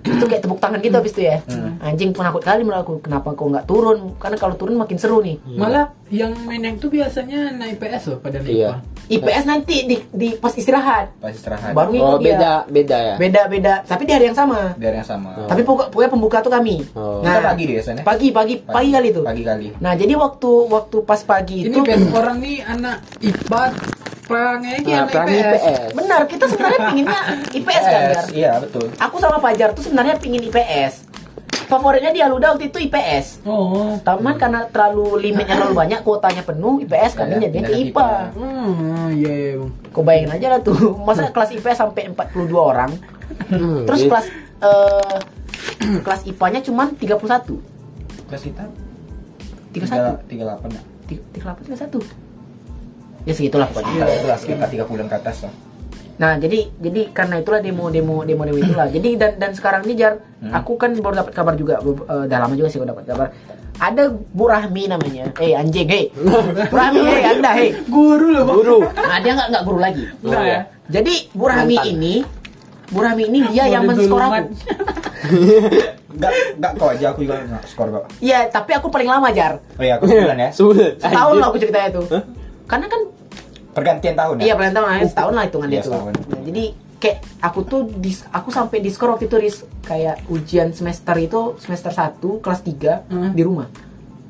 itu kayak tepuk tangan gitu habis itu ya Hmm. anjing penakut kali menurut aku kenapa kau nggak turun karena kalau turun makin seru nih malah yang main yang tuh biasanya naik PS loh pada naik Iya. apa. IPS nanti di, di pas istirahat kan, Pas istirahat. baru ngikut Oh, dia. beda, beda ya. iya. beda beda tapi di hari yang sama Biar yang Oh. sama. tapi pokok- pokoknya pembuka tuh kami Nah, Oh. Oh. Kita pagi deh biasanya. pagi pagi pagi kali tuh Pagi kali. nah jadi waktu waktu pas pagi ini itu PS orang nih anak IPA perangnya ini anak Nah, perang IPS, IPS. benar kita sebenarnya pinginnya IPS kan Dar? Yes, iya betul. aku sama Fajar tuh sebenarnya pingin IPS favoritnya di Aluda waktu itu IPS oh Taman karena terlalu limitnya terlalu banyak, kuotanya penuh, IPS kami Iya, kan, jadinya ke pindah ke IPA. hmm iya iya bang Kau bayangin aja lah tuh, masa kelas IPS sampai 42 orang, Hmm, terus jadi- kelas eh, kelas IPA-nya cuman 31. Kelas kita 31. 38 delapan. ya. Tiga- 38 31. Ya segitulah pokoknya. Sekitar sebelas sekitar Iya, tiga bulan ke atas lah. Nah, jadi jadi karena itulah demo demo demo demo itulah. Jadi dan dan sekarang ini Jar, aku kan baru dapat kabar juga be- eh, dah lama juga sih aku dapat kabar. Ada Bu Rahmi namanya. Eh anjing, hei. Bu Rahmi, hei Anda, hei. guru loh bang guru. Nah, dia nggak nggak guru lagi. Enggak ya? Jadi Bu Rahmi Mantan. ini, Bu Rahmi ini dia yang Model menskor duluan. aku. Enggak, enggak kok aja aku juga enggak skor kok. Iya, tapi aku paling lama jar. Oh iya, aku sebulan ya. Sulit. Setahun lah aku ceritanya tuh. Karena kan, Pergantian tahun ya. iya paling tahun lah, setahun lah hitungannya Iya, tuh. setahun. Nah, jadi kayak aku tuh dis, aku sampai diskor waktu itu ris kayak ujian semester itu semester 1 kelas 3 Hmm. di rumah.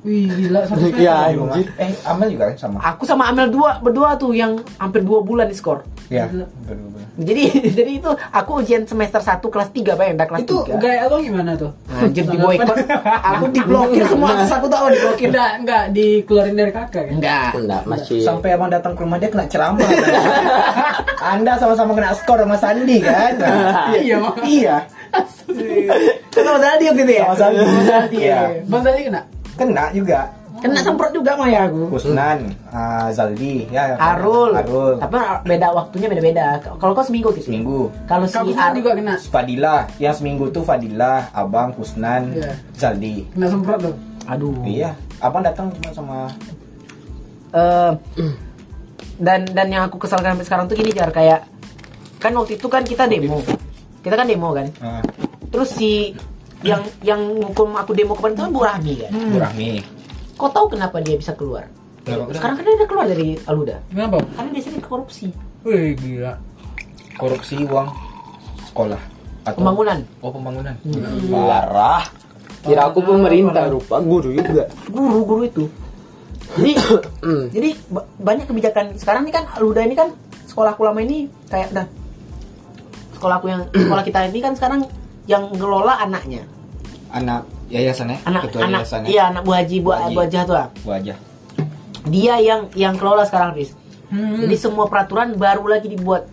wih gila sampai Di Iya, rumah. anjir. Eh, Amel juga kan sama. Aku sama Amel dua berdua tuh yang hampir dua bulan diskor. Iya. Berdua. Jadi jadi itu aku ujian semester 1 kelas 3 bayangin dah kelas itu 3. gaya abang gimana tuh Anjir di boycott. aku diblokir semua akses aku tuh di blokir. enggak enggak dikeluarin dari kakak kan Enggak. Enggak, masih. Sampai abang datang ke rumah dia kena ceramah. Anda sama-sama kena skor sama Sandi kan? iya bang iya. Sama Zaldi waktu itu ya? Sama Sandi. Iya. bang tadi kena Kena juga. Kena semprot juga Maya aku. Kusnan, ah, Zaldi, ya. Arul. Arul. Tapi beda waktunya beda-beda. Kalau kau seminggu gitu. Seminggu. Kalau si kamu Arul juga kena Fadila, yang seminggu tuh Fadila, Abang, Kusnan, Iya. Zaldi. kena semprot tuh Aduh. Iya, Abang datang cuma sama Eh, dan dan yang aku kesalkan sampai sekarang tuh gini jar kayak kan waktu itu kan kita demo. Kita kan demo kan. ah, Terus si yang yang hukum aku demo kemarin itu kan Bu Rahmi kan. Bu Rahmi. Kau tahu kenapa dia bisa keluar? Kenapa? Sekarang kan dia udah keluar dari Aluda. kenapa Karena biasanya korupsi. wih gila Korupsi uang sekolah atau Pembangunan. Hmm. Oh, pembangunan. Parah. Kira aku pemerintah rupa guru juga. guru-guru itu jadi jadi ba- banyak kebijakan sekarang ini kan Luda ini kan sekolahku lama ini kayak udah sekolahku yang sekolah kita ini kan sekarang yang ngelola anaknya Anak yayasan ya? anak Ketua anak yayasan iya anak Bu Haji Bu, Bu Haji. Bu Haji Hatua. Gua aja. dia yang yang kelola sekarang bis Hmm. jadi semua peraturan baru lagi dibuat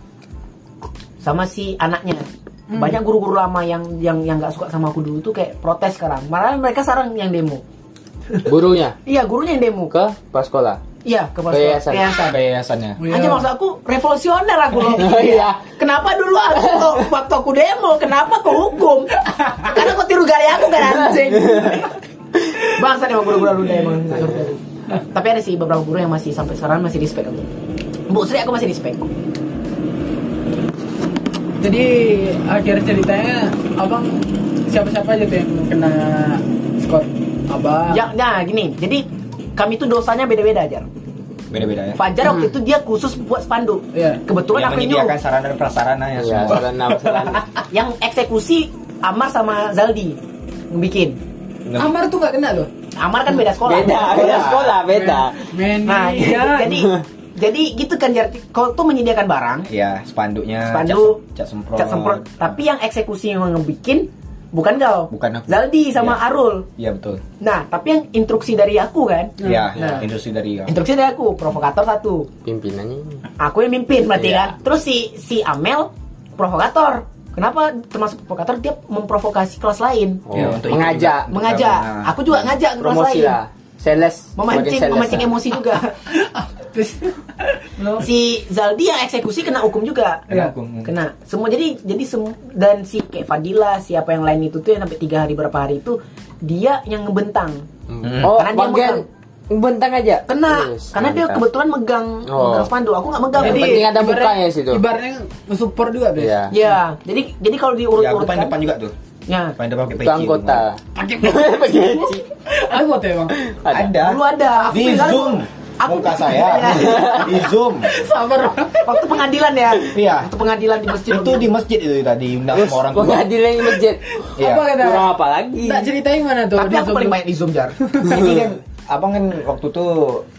sama si anaknya banyak guru-guru lama yang yang yang nggak suka sama aku dulu tuh kayak protes sekarang malah mereka sekarang yang demo Gurunya iya gurunya yang demo ke pas sekolah. iya ke Ke yayasan. yayasan. Ke yayasannya. Oh, iya. Anjir maksud aku revolusioner aku loh. Iya. Kenapa dulu aku kok waktu aku demo, kenapa kau hukum? Karena kau tiru gaya aku kan anjing. Bangsa emang guru-guru lu deh emang. Tapi ada sih beberapa guru yang masih sampai sekarang masih respect aku. Bu Sri aku masih respect. Jadi akhir ceritanya abang siapa-siapa aja tuh yang kena skor abang. Ya, nah gini, jadi kami tuh dosanya beda-beda aja. Beda-beda ya. Fajar waktu itu dia khusus buat spanduk. Iya. Kebetulan Yang kan aku nyuruh. menyediakan sarana dan prasarana ya Ya, semua. sarana sarana. Yang eksekusi Amar sama Zaldi bikin. Amar tuh nggak kena loh. Amar kan beda sekolah. Beda, iya. beda sekolah, beda. Men, Nah, iya. jadi jadi gitu kan Jar. Kau tuh menyediakan barang, Iya, spanduknya. Spanduk. Cat, cat semprot. cat semprot, tapi yang eksekusi yang ngebikin bukan kau. Bukan aku. Zaldi sama Iya. Arul. Iya betul. Nah, tapi yang instruksi dari aku kan. Iya, Nah. industri dari ya. Instruksi dari aku, provokator satu. Pimpinannya ini. Aku yang mimpin berarti Iya. kan. Terus si si Amel provokator. Kenapa termasuk provokator dia memprovokasi kelas lain? Oh, Ya, untuk mengajak ikut- Mengajak. Nah. Aku juga ngajak ke kelas promosi lain. lah. Sales, iya? Memancing sebagai sales memancing lah. emosi juga. si Zaldi yang eksekusi kena hukum juga. Kena hukum. iya. Kena. Semua jadi jadi sem- dan si kayak Fadila siapa yang lain itu tuh yang sampai tiga hari berapa hari itu dia yang ngebentang. Oh, Karena dia bagian bentang aja. Kena Yes, karena dia mantap. kebetulan megang Oh. megang spanduk. Aku nggak ya megang. Yang Jadi, penting ada ibaratnya- mukanya situ. Ibaratnya support juga, Bes. Iya. ya, jadi jadi kalau Ya, aku paling diurut-urutkan depan juga tuh. Ya. Paling depan pakai peci. Itu anggota. Pakai peci. Aku tuh emang. Ada. Ada. Dulu ada. Aku Di dengar- Zoom. Aku- Muka saya. Di Zoom. Sabar. Waktu pengadilan ya. Iya. Waktu pengadilan di masjid. Itu di masjid itu tadi undang semua orang tua. Pengadilan di masjid. Iya. Apa kata? Kurang apa lagi? Tak ceritain mana tuh. Tapi di aku Zoom paling tuh? banyak di Zoom jar. Jadi kan abang kan waktu itu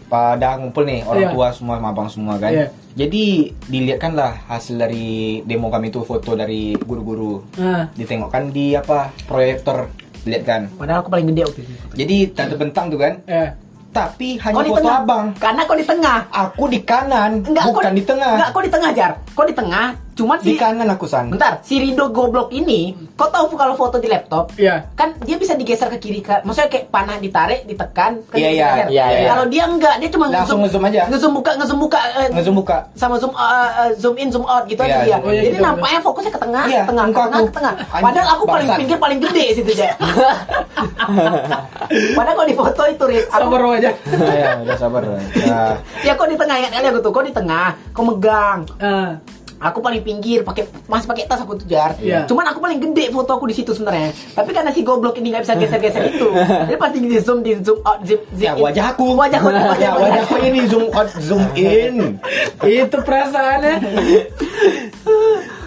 pada ngumpul nih orang Iya. tua semua sama abang semua kan. Iya. Jadi dilihatkanlah hasil dari demo kami itu foto dari guru-guru. Ah. Ditengokkan di apa? Proyektor dilihatkan. Padahal aku paling gede waktu itu. Jadi tante bentang tuh kan. Eh. Tapi hanya Kau di foto tengah. abang. Karena kau di tengah. Aku di kanan, Enggak, bukan kau, di tengah. Enggak, kau di tengah jar. Kau di tengah. Cuman si di kanan aku san. Hmm. Bentar, si Rido goblok ini, kau tahu kalau foto di laptop, Iya. kan dia bisa digeser ke kiri, ke, maksudnya kayak panah ditarik, ditekan, kan dia Iya, bisa iya, geser. iya, iya. Kalau dia enggak, dia cuma Langsung ngezoom aja. ngezoom buka, ngezoom buka, eh, Langsung buka. sama zoom eh, eh, zoom in, zoom out gitu Iya, aja dia. oh iya, Jadi gitu. nampaknya fokusnya ke tengah, Iya, ke tengah, ke muka tengah, aku. ke tengah. Anjing, Padahal aku paling bangsat. pinggir paling gede situ aja. Padahal kalau di foto itu, Riz, aku- Sabar aja. ya, udah sabar. Ya. ya kau di tengah, ingat kali aku tuh, kau di tengah, kau megang, Eh. Aku paling pinggir, pakai masih pakai tas aku tuh jar. Iya. Cuman aku paling gede foto aku di situ sebenarnya. Tapi karena si goblok ini nggak bisa geser-geser itu, dia pasti di zoom, di zoom out, zoom, zoom Ya in. wajah aku. wajah aku, wajah, Ya wajah wajah aku ini zoom out, zoom in. Itu perasaannya.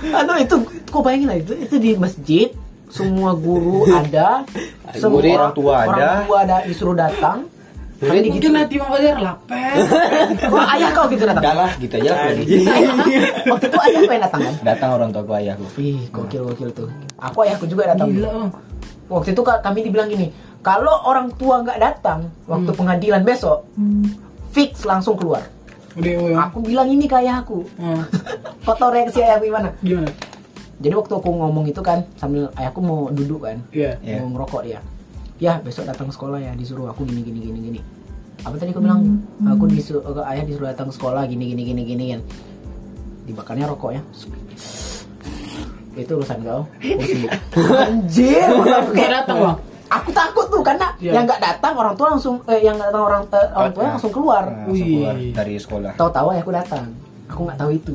Aduh itu, kau bayangin lah itu, itu di masjid, semua guru ada, semua Murid, orang tua orang ada. tua ada disuruh datang. gitu. Jadi mungkin nanti Bang Fajar lapes. Wah, ayah kau gitu datang. Udah lah, gitu aja lah. Freddy. Waktu itu ayah kau yang datang kan? Datang orang tua aku ayahku. Ih, gokil-gokil tuh. Aku ayahku juga datang. Gila, Bang. waktu itu ka- kami dibilang gini kalau orang tua nggak datang waktu pengadilan besok fix langsung keluar Udah, udah. aku bilang ini kayak aku Eh, foto reaksi ayahku gimana Gimana? jadi waktu aku ngomong itu kan sambil ayahku mau duduk kan Iya. Iya. mau ngerokok dia ya besok datang sekolah ya disuruh aku gini gini gini gini apa tadi aku bilang aku disuruh eh, ayah disuruh datang sekolah gini gini gini gini kan dibakarnya rokoknya itu urusan kau urusan dia. anjir aku kayak datang, Bang? aku takut tuh karena Iya. yang nggak datang orang tua langsung eh, yang nggak datang orang eh, orang tua langsung keluar Nah, langsung keluar Wih. dari sekolah. tahu-tahu ayahku datang aku nggak tahu itu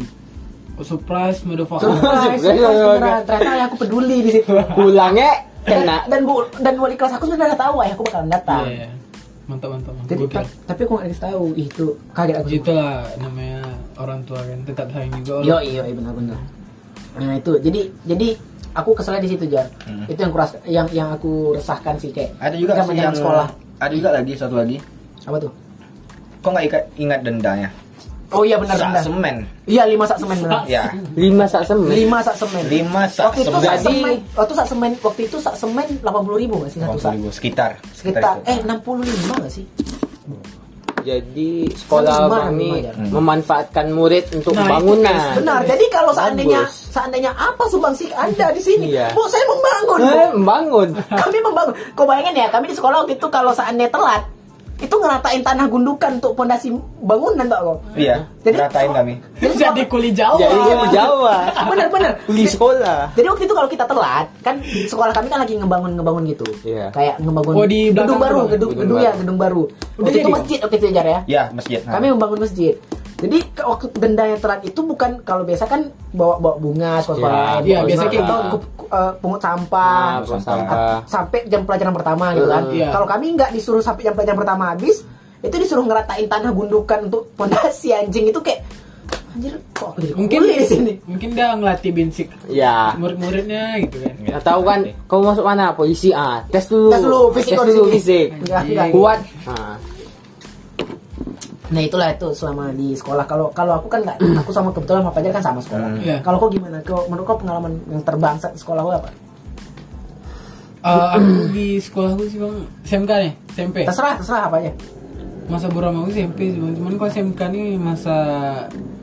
Oh, surprise, motherfucker. surprise, surprise beneran. ternyata ayahku peduli di situ Pulangnya dan, kena. dan bu dan wali kelas aku sebenarnya udah tahu ayahku bakalan datang Iya. Mantap, mantap. mantap. Jadi Gokil. ta- tapi aku nggak dikasih tahu Ih, itu kaget aku. semua. Itulah namanya orang tua kan tetap sayang juga. Yo iya benar-benar. Nah itu jadi jadi aku keselnya di situ jar. Itu yang kuras yang yang aku resahkan sih kayak. Ada juga zaman sih yang yang sekolah. Ada juga lagi satu lagi. Apa tuh? Kok nggak ikat- ingat dendanya? Oh iya benar Sak benar. semen. Iya lima sak semen benar. Ya. Lima sak semen. Lima sak semen. Lima sak Waktu itu sak semen. Jadi- semen, waktu sak semen, waktu itu sak semen delapan puluh ribu nggak sih satu sak? 80.000, sekitar. Sekitar itu. eh enam puluh lima nggak sih? Jadi sekolah Lima, kami lima, ya. memanfaatkan murid untuk Nah, itu bangunan. Benar. Jadi kalau seandainya Bagus. seandainya apa sumbangsih anda di sini? Iya. Bu saya membangun. Bu. Eh, bangun. kami membangun kau bayangin ya kami di sekolah waktu itu kalau seandainya telat itu ngeratain tanah gundukan untuk pondasi bangunan tau kau Iya, Jadi- ratain kami. Jadi kuli Oh, Jawa. Jadi di Jawa. bener bener Di sekolah. jadi waktu itu kalau kita telat kan di sekolah kami kan lagi ngebangun ngebangun gitu Iya. kayak ngebangun Oh, di belakang gedung baru gedung. gedung Gedung gedung ya baru. gedung baru Udah waktu itu jadi? Iya. masjid oke itu Jar, ya Ya, masjid. Nah, kami membangun masjid Jadi ke- waktu denda yang terat itu bukan kalau biasa kan bawa bawa bunga sekolah-sekolah Iya, lain, iya, bawa biasanya bunga, kayak atau gitu. ke- ke- eh, pungut sampah, Ah, pungut sampah. sampai jam pelajaran pertama gitu kan. Iya. Kalau kami nggak disuruh sampai jam pelajaran pertama habis, itu disuruh ngeratain tanah gundukan untuk pondasi anjing itu kayak anjir kok aku jadi Mungkin kuli di sini. Mungkin dia ngelatih binsik Ya. murid-muridnya gitu kan. Nggak tahu kan, kamu masuk mana? Polisi. Ah, tes dulu. Tes dulu, fisik Tes kau di dulu sini. fisik. Nggak, nggak. Kuat. Ah. Nah itulah itu selama di sekolah. Kalau kalau aku kan nggak, aku sama kebetulan sama Fajar kan sama sekolah. Iya. Kalau kau gimana? Kau menurut kau pengalaman yang terbangsat di sekolah kau apa? Eh, aku di sekolahku sih bang SMK nih SMP Terserah terserah apa aja. masa buram aku SMP cuman cuman kok SMK nih masa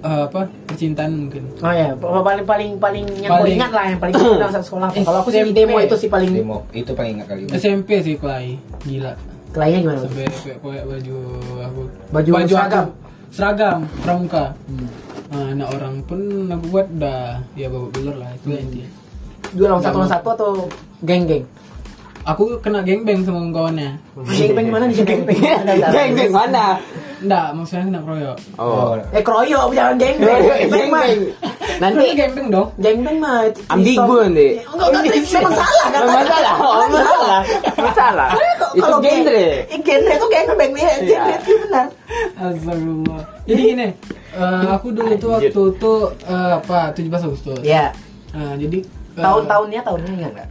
eh, apa percintaan mungkin Oh ya, paling paling paling yang kau Paling- ingat lah yang paling kau ingat saat sekolah. Kalau aku sih SMP. Eh, demo itu sih paling Demo itu paling ingat kali. SMP sih kelai gila kelainnya gimana? sampai sampai pakai baju aku Baju seragam? Hmm. aku, seragam pramuka Nah, anak orang pun aku buat dah ya babak belur lah itu Hmm. intinya Dua lawan satu lawan satu atau geng geng? aku kena gengbeng sama kawannya Geng geng mana di geng geng? Geng, geng mana? enggak maksudnya kena proyok Oh. Iya. Eh kroyok jangan geng geng. Geng Geng, mah geng. Nanti Kena gengbeng dong geng geng mah. itu- ambigu nanti. Enggak enggak memang salah kan? Memang salah, memang salah. Masalah. Itu Kalau geng genre. genre itu geng geng nih. Genre itu benar. Astagfirullah. Jadi gini, eh, aku dulu tuh waktu itu eh, apa 17 Agustus. Iya. Nah, jadi eh, Tahun-tahunnya tahunnya ingat nggak?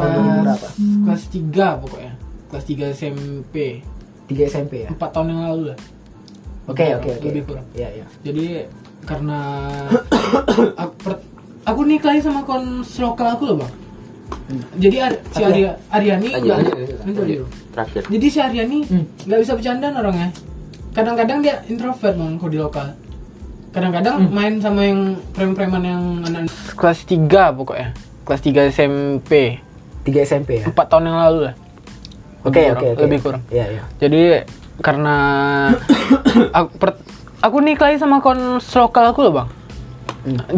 tahunnya kelas- berapa? Kelas 3 pokoknya. Kelas 3 SMP. 3 SMP ya. 4 tahun yang lalu lah. Oke oke oke. Lebih kurang. Iya iya. Jadi karena aku, per- aku nih kelahi sama kons lokal aku loh, Bang. Hmm. Jadi Ar- si Arya, Aryani Lanjut, enggak- lanjut, Nanti lanjut. dulu. Terakhir. Jadi si Aryani nggak bisa bercandaan orangnya. Kadang-kadang dia introvert bang kalau di lokal. Kadang-kadang main sama yang preman-preman yang anak Hmm. kelas 3 pokoknya. Kelas 3 SMP. 3 SMP ya. 4 tahun yang lalu lah. Oke Lebih oke kurang- oke. Lebih kurang. Iya iya. Jadi karena aku, per- aku nih kelahi sama kons lokal aku loh bang.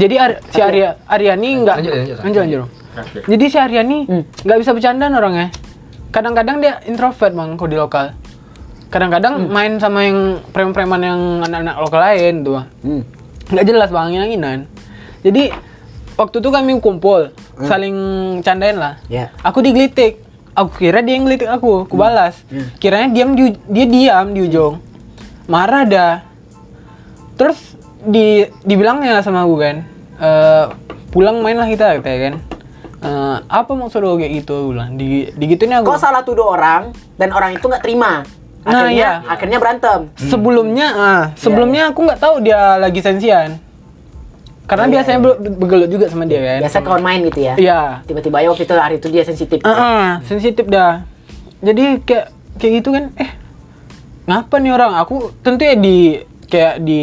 Jadi Ar- si Arya Aryani nggak Hmm. Lanjut, lanjut, Hmm. lanjut, lanjut, Bang. Jadi si Aryani nggak bisa bercandaan orangnya. Kadang-kadang dia introvert bang kalau di lokal. Hmm. Kadang-kadang main sama yang preman-preman yang anak-anak lokal lain tuh. Bang. Nggak jelas bang yang inan. Jadi waktu itu kami kumpul saling candain lah. Iya. Aku digelitik. Aku kira dia yang ngelitik aku, aku balas. Kiranya diam di, uj- dia diam di ujung. Marah dah. Terus di dibilangnya sama aku kan, "Eh, pulang mainlah kita gitu ya kan. Eh, apa maksud lo kayak gitu ulang di digituin aku. Kok salah tuduh orang dan orang itu nggak terima. Nah, iya. Akhirnya akhirnya berantem. sebelumnya ah, sebelumnya aku nggak tahu dia lagi sensian. Karena biasanya be- begelut juga sama dia kan. Biasa kawan main gitu ya. Iya. Tiba-tiba ya waktu itu hari itu dia sensitif. Ah, ah, sensitif dah. Jadi kayak kayak gitu kan, eh ngapa nih orang? Aku tentu ya di kayak di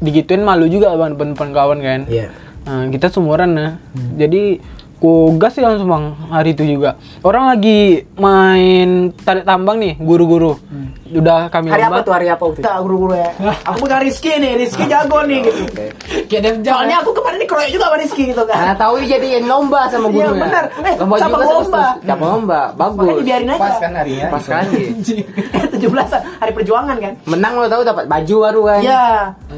digituin malu juga bang depan depan kawan kan. Iya. Nah, kita sumuran nah. Jadi ku gas sih langsung bang hari itu juga. Orang lagi main tarik tambang nih, guru-guru. Udah kami Hari apa lomba. tuh hari apa waktu itu? Kita guru-guru ya. Aku bukan Rizky nih, Rizky jago nih gitu. Kayak ada jam- Soalnya aku kemarin dikeroyok juga sama Rizky gitu Karena kan. tahu dijadiin lomba Iya, sama gurunya. benar. Eh, sama juga lomba. sama- Sama lomba. Bagus. Iya, Makanya dibiarin aja. Pas kan harinya. Pas kali. 17-an, hari perjuangan kan. Menang lo tahu dapat baju baru kan. Iya.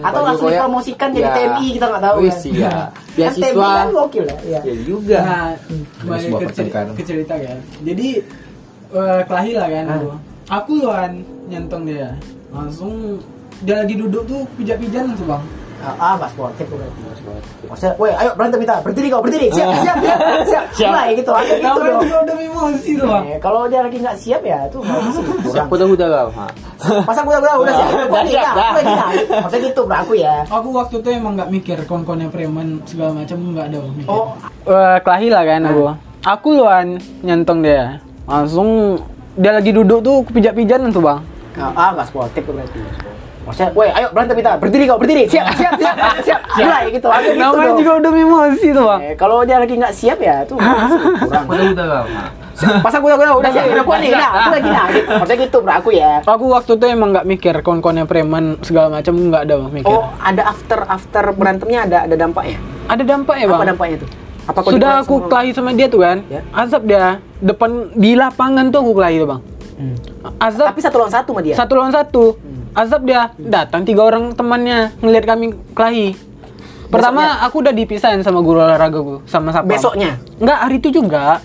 Atau Baju langsung koyak. dipromosikan jadi Iya. TNI kita nggak tahu Wis, kan. iya. Kan TNI Beasiswa. kan gokil ya. Iya. Ya juga. Nah, Ada sebuah balik ke, cer- pertengkaran. ke cerita kan. Jadi eh, kelahi lah kan aku. Aku luan nyentong dia. Langsung dia lagi duduk tuh pijak-pijan tuh bang. Ah, ah, mas sportif bukan. Maksudnya, weh, ayo berantem kita, berdiri kau, berdiri, siap, siap, siap, Ah. siap, mulai gitu, agak gitu Namanya dong. juga udah emosi tuh bang. Eh, Kalau dia lagi nggak siap ya, itu nggak bisa kurang. Aku tahu udah kau. ha. Pas aku udah udah udah siap, aku lagi nggak, aku lagi nggak. Maksudnya gitu, bro, aku ya. Aku waktu itu emang nggak mikir kon-konnya preman segala macam nggak ada bang. mikir. Oh, Eh, kelahi lah kan aku. Aku luan nyentong dia. Langsung dia lagi duduk tuh pijak-pijan tuh bang. ah, nggak sportif berarti. Maksudnya, weh, ayo berantem kita, berdiri kau, berdiri, siap, siap, siap, siap, mulai gitu, agak gitu dong. Namanya kan juga udah emosi tuh bang. Eh, Kalau dia lagi nggak siap ya, itu nggak bisa kurang. Aku tahu udah kau. Hmm. ha. Pas aku udah udah udah siap, udah kuat nih, nggak, aku lagi nggak. gitu. Maksudnya gitu, bro, aku ya. Aku waktu itu emang nggak mikir kon-konnya preman segala macam nggak ada bang, mikir. Oh, ada after after berantemnya ada ada dampaknya. Ada dampak Eh, ya bang? Apa dampaknya tuh? Apa kau Sudah dikeroyok aku sama- kelahi sama dia tuh kan, Ya. azab dia Hmm. depan di lapangan tuh aku kelahi tuh bang. Azab Tapi Hmm. satu lawan satu sama dia. satu lawan satu. azab dia datang tiga orang temannya ngelihat kami kelahi pertama aku udah dipisahin sama guru olahraga gue sama siapa Besoknya? nggak hari itu juga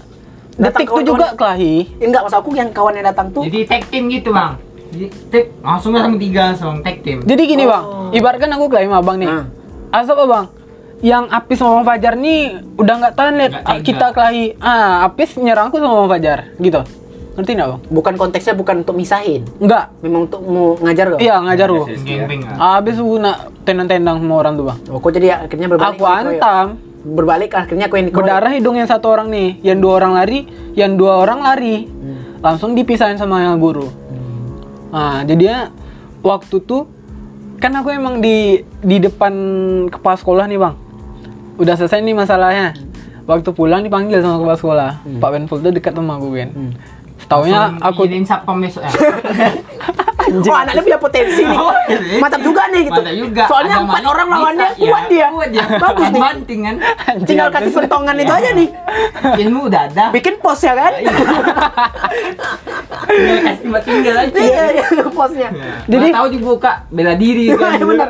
detik itu juga kelahi Enggak, maksud aku yang kawannya datang tuh Jadi tag team gitu bang. Jadi tag langsungnya sama tiga langsung tag team. Jadi gini bang, ibaratkan aku klaim abang nih. Ah. Asap abang, yang Apis sama Bang Fajar nih udah nggak tahan lihat Nggak ah, tega. kita kelahi. Ah, Apis nyerangku sama Bang Fajar, gitu. Ngerti nggak bang? bukan konteksnya bukan untuk misahin. Nggak. Memang untuk mau ngajar kok. Iya ngajar lu. Geng-geng ah. Abis aku nak tendang-tendang sama orang tuh bang. Oh, kok jadi akhirnya berbalik. Aku yang dikeroyok? antam. Berbalik akhirnya aku yang dikeroyok. Berdarah hidung yang satu orang nih, yang dua orang lari, yang dua orang lari, langsung dipisahin sama yang guru. Nah, jadinya waktu tuh kan aku emang di di depan kepala sekolah nih bang, udah selesai nih masalahnya. Waktu pulang dipanggil sama kepala sekolah, Pak Benful tuh dekat sama aku kan. Setaunya aku Kirim satpam besok ya. Oh, anaknya punya potensi nih. Mantap juga nih gitu. Oh, iya. Mantap juga. Soalnya Ada empat maling, orang bisa, lawannya ya. kuat dia. Kuat dia. Bagus nih. Banting kan. Tinggal kasih pentongan Iya. itu aja nih. Ilmu udah ada. Bikin pos ya kan? Iya, Tinggal kasih tempat tinggal aja. Iya, iya, posnya. Jadi tahu juga kak bela diri kan. Benar.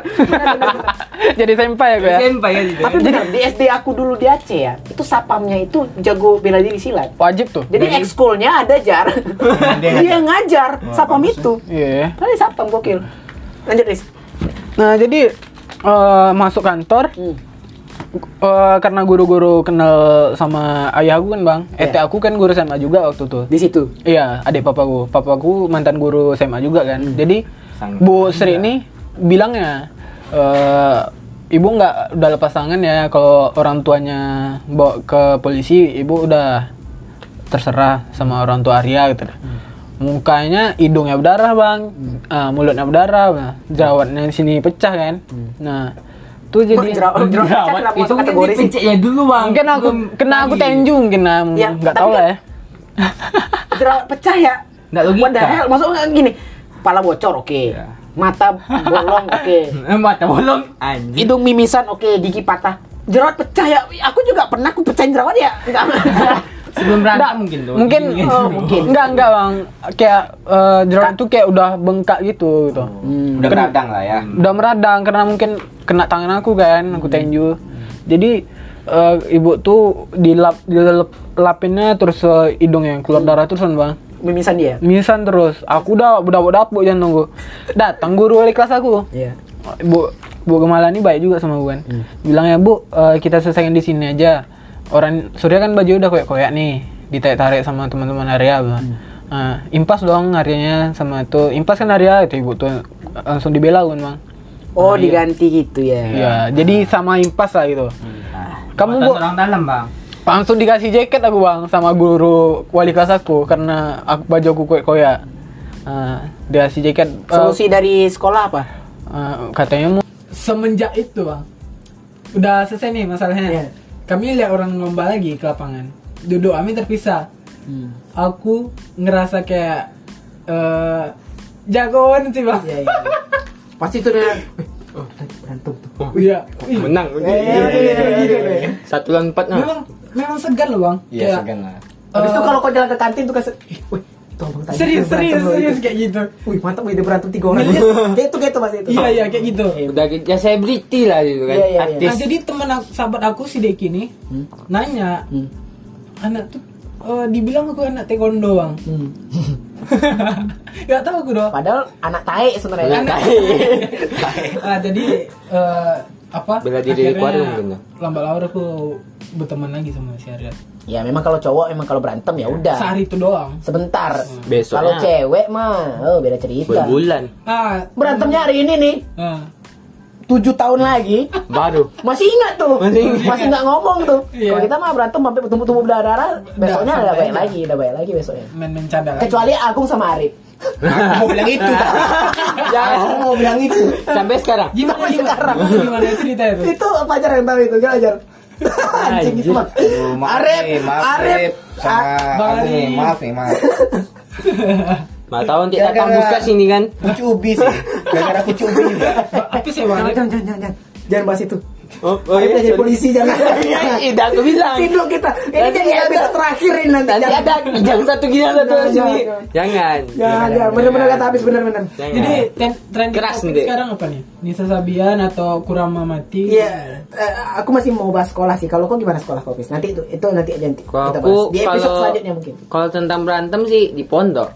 jadi senpai aku ya. Senpai kan gitu. Tapi benar di SD aku dulu di Aceh ya, itu sapamnya itu jago bela diri silat. Wajib tuh. Iya. Jadi Iya. ekskulnya ada jar. Dia ngajar sapam itu. Iya. Tadi sapam gokil. Lanjut, Riz. Nah jadi eh, masuk kantor. Hmm. eh, karena guru-guru kenal sama ayah aku kan bang, ET aku kan guru SMA juga waktu tuh. Di situ. Iya, adik papaku. Papaku mantan guru SMA juga kan. Jadi Bu Sri ini bilangnya eh ibu nggak udah lepas tangan ya kalau orang tuanya bawa ke polisi, ibu udah terserah sama orang tua Arya gitu. dah. Mukanya hidungnya berdarah, Bang. Ah, mulutnya berdarah, Bang. Jerawatnya di sini pecah kan. Nah, tuh jadi Jerawat, jerawat, kenapa itu masuk mungkin kategori sih? dipicik ya Iya, dulu bang. mungkin aku Belum kena aku tadi. tenjung kena Ya, nggak tapi tahu lah kan- ya. Jerawat pecah ya? Nggak logika. Iya. What the hell? Maksudnya gini, kepala bocor oke. Mata bolong oke. Eh, Mata bolong anjing. Hidung mimisan oke, gigi patah. Jerawat pecah ya? Aku juga pernah aku pecahin jerawat ya. Enggak. Sebelum Nggak, berantem mungkin tuh. Mungkin, oh, mungkin. Enggak, enggak, Bang. Kayak eh, jerawat itu kayak udah bengkak gitu gitu. Udah keradang lah ya. Udah meradang karena mungkin kena tangan aku kan, aku tenju. Jadi eh, ibu tuh dilap dilap lapinnya terus eh, hidung yang keluar darah terus kan, Bang. mimisan dia. Misan terus. Aku udah udah budak dapuk jangan tunggu. Datang guru wali kelas aku. Iya. Bu Bu Gemala ini baik juga sama gue kan. Hmm. Bilangnya Bu eh, kita selesaikan di sini aja. Orang Surya kan baju udah koyak-koyak nih ditarik-tarik sama teman-teman Arya. Bang. Hmm. Ah, impas dong Aryanya sama tuh impas kan Arya itu ibu tuh langsung dibela kan bang. Oh, diganti gitu ya. Iya, jadi sama impas lah gitu. Hmm. Kamu Kamu bu orang dalam bang. langsung dikasih jaket aku bang sama guru wali kelas aku karena aku baju aku koyak-koyak. Ah, dia kasih jaket. Gitu. eh, Solusi dari sekolah apa? Uh, katanya mau semenjak itu bang udah selesai nih masalahnya Iya. kami lihat orang lomba lagi ke lapangan duduk kami terpisah aku ngerasa kayak eh jagoan sih bang iya Pasti itu Oh, udah iya Menang. Eh, iya, Satu lawan empat nah. memang memang segan loh bang Iya, Kayak, segan lah. Habis itu eh, kalau kau jalan ke kantin tuh kasih, "Ih, wih, itu abang tadi serius tuh serius berantem loh serius itu." kayak gitu Wih, mantap wih, dia berantem tiga orang. Kayak itu kayak itu pasti itu. iya iya kayak gitu Udah ya selebriti lah gitu kan. Iya, iya, iya. Artis. Nah, jadi teman aku- sahabat aku si Deki nih nanya anak tuh eh, dibilang aku anak taekwondo bang. Gak tahu aku doang. Padahal anak tai sebenarnya. Anak- Ah, jadi eh, apa? Bela diri akhirnya kuat mungkin ya. Lambat laur aku berteman lagi sama si Arya. Ya memang kalau cowok memang kalau berantem ya udah. Iya. Sehari itu doang. Sebentar. Besoknya. Kalau cewek mah, oh beda cerita. Berbulan. Ah, Berantemnya hari ini nih, ah, tujuh tahun lagi Baru. masih ingat tuh, masih nggak ngomong tuh. Iya. Kalau kita mah berantem sampai tumbuh-tumbuh darah-darah, besoknya santai udah baik aja. lagi, udah baik lagi besoknya. main main cadar. Eh, aja. Kecuali Agung sama Arif. Mau bilang itu. Jangan Aku mau bilang itu. sampai sekarang. Gimana Sampai gimana, sekarang. gimana, gimana cerita ya, itu? itu apa ajar yang tahu itu? Gak ajar. Anjing itu mah. Arif, Arif. Ah, sama Bang Agung nih, Arif. maaf nih, maaf. Mau tahu nanti Jangan. datang buka sini kan. Kucu ubi sih, gara-gara kucu ubi juga. Apa sih bang? Jangan, jangan, jangan, jangan. jangan bahas itu. Oh, oh Ayo iya, jadi sorry. polisi jangan. Iya, udah aku bilang. Sini dulu kita. Ini Nanti jadi ada- episode terakhir ini nanti. Nanti Jangan. ada kijang satu kijang satu Jangan, sini. jangan. Jangan. Jangan, jangan. Benar-benar kata habis benar-benar. Jangan. Jadi tren tren Keras, topik Ndek. sekarang apa nih? Nisa Sabian atau Kurama Mati? Iya, eh, aku masih mau bahas sekolah sih. Kalau kau gimana sekolah kau, Fis? Nanti itu itu nanti aja nanti Kalau kita aku bahas. Di episode kalau selanjutnya mungkin. kalau tentang berantem sih di pondok.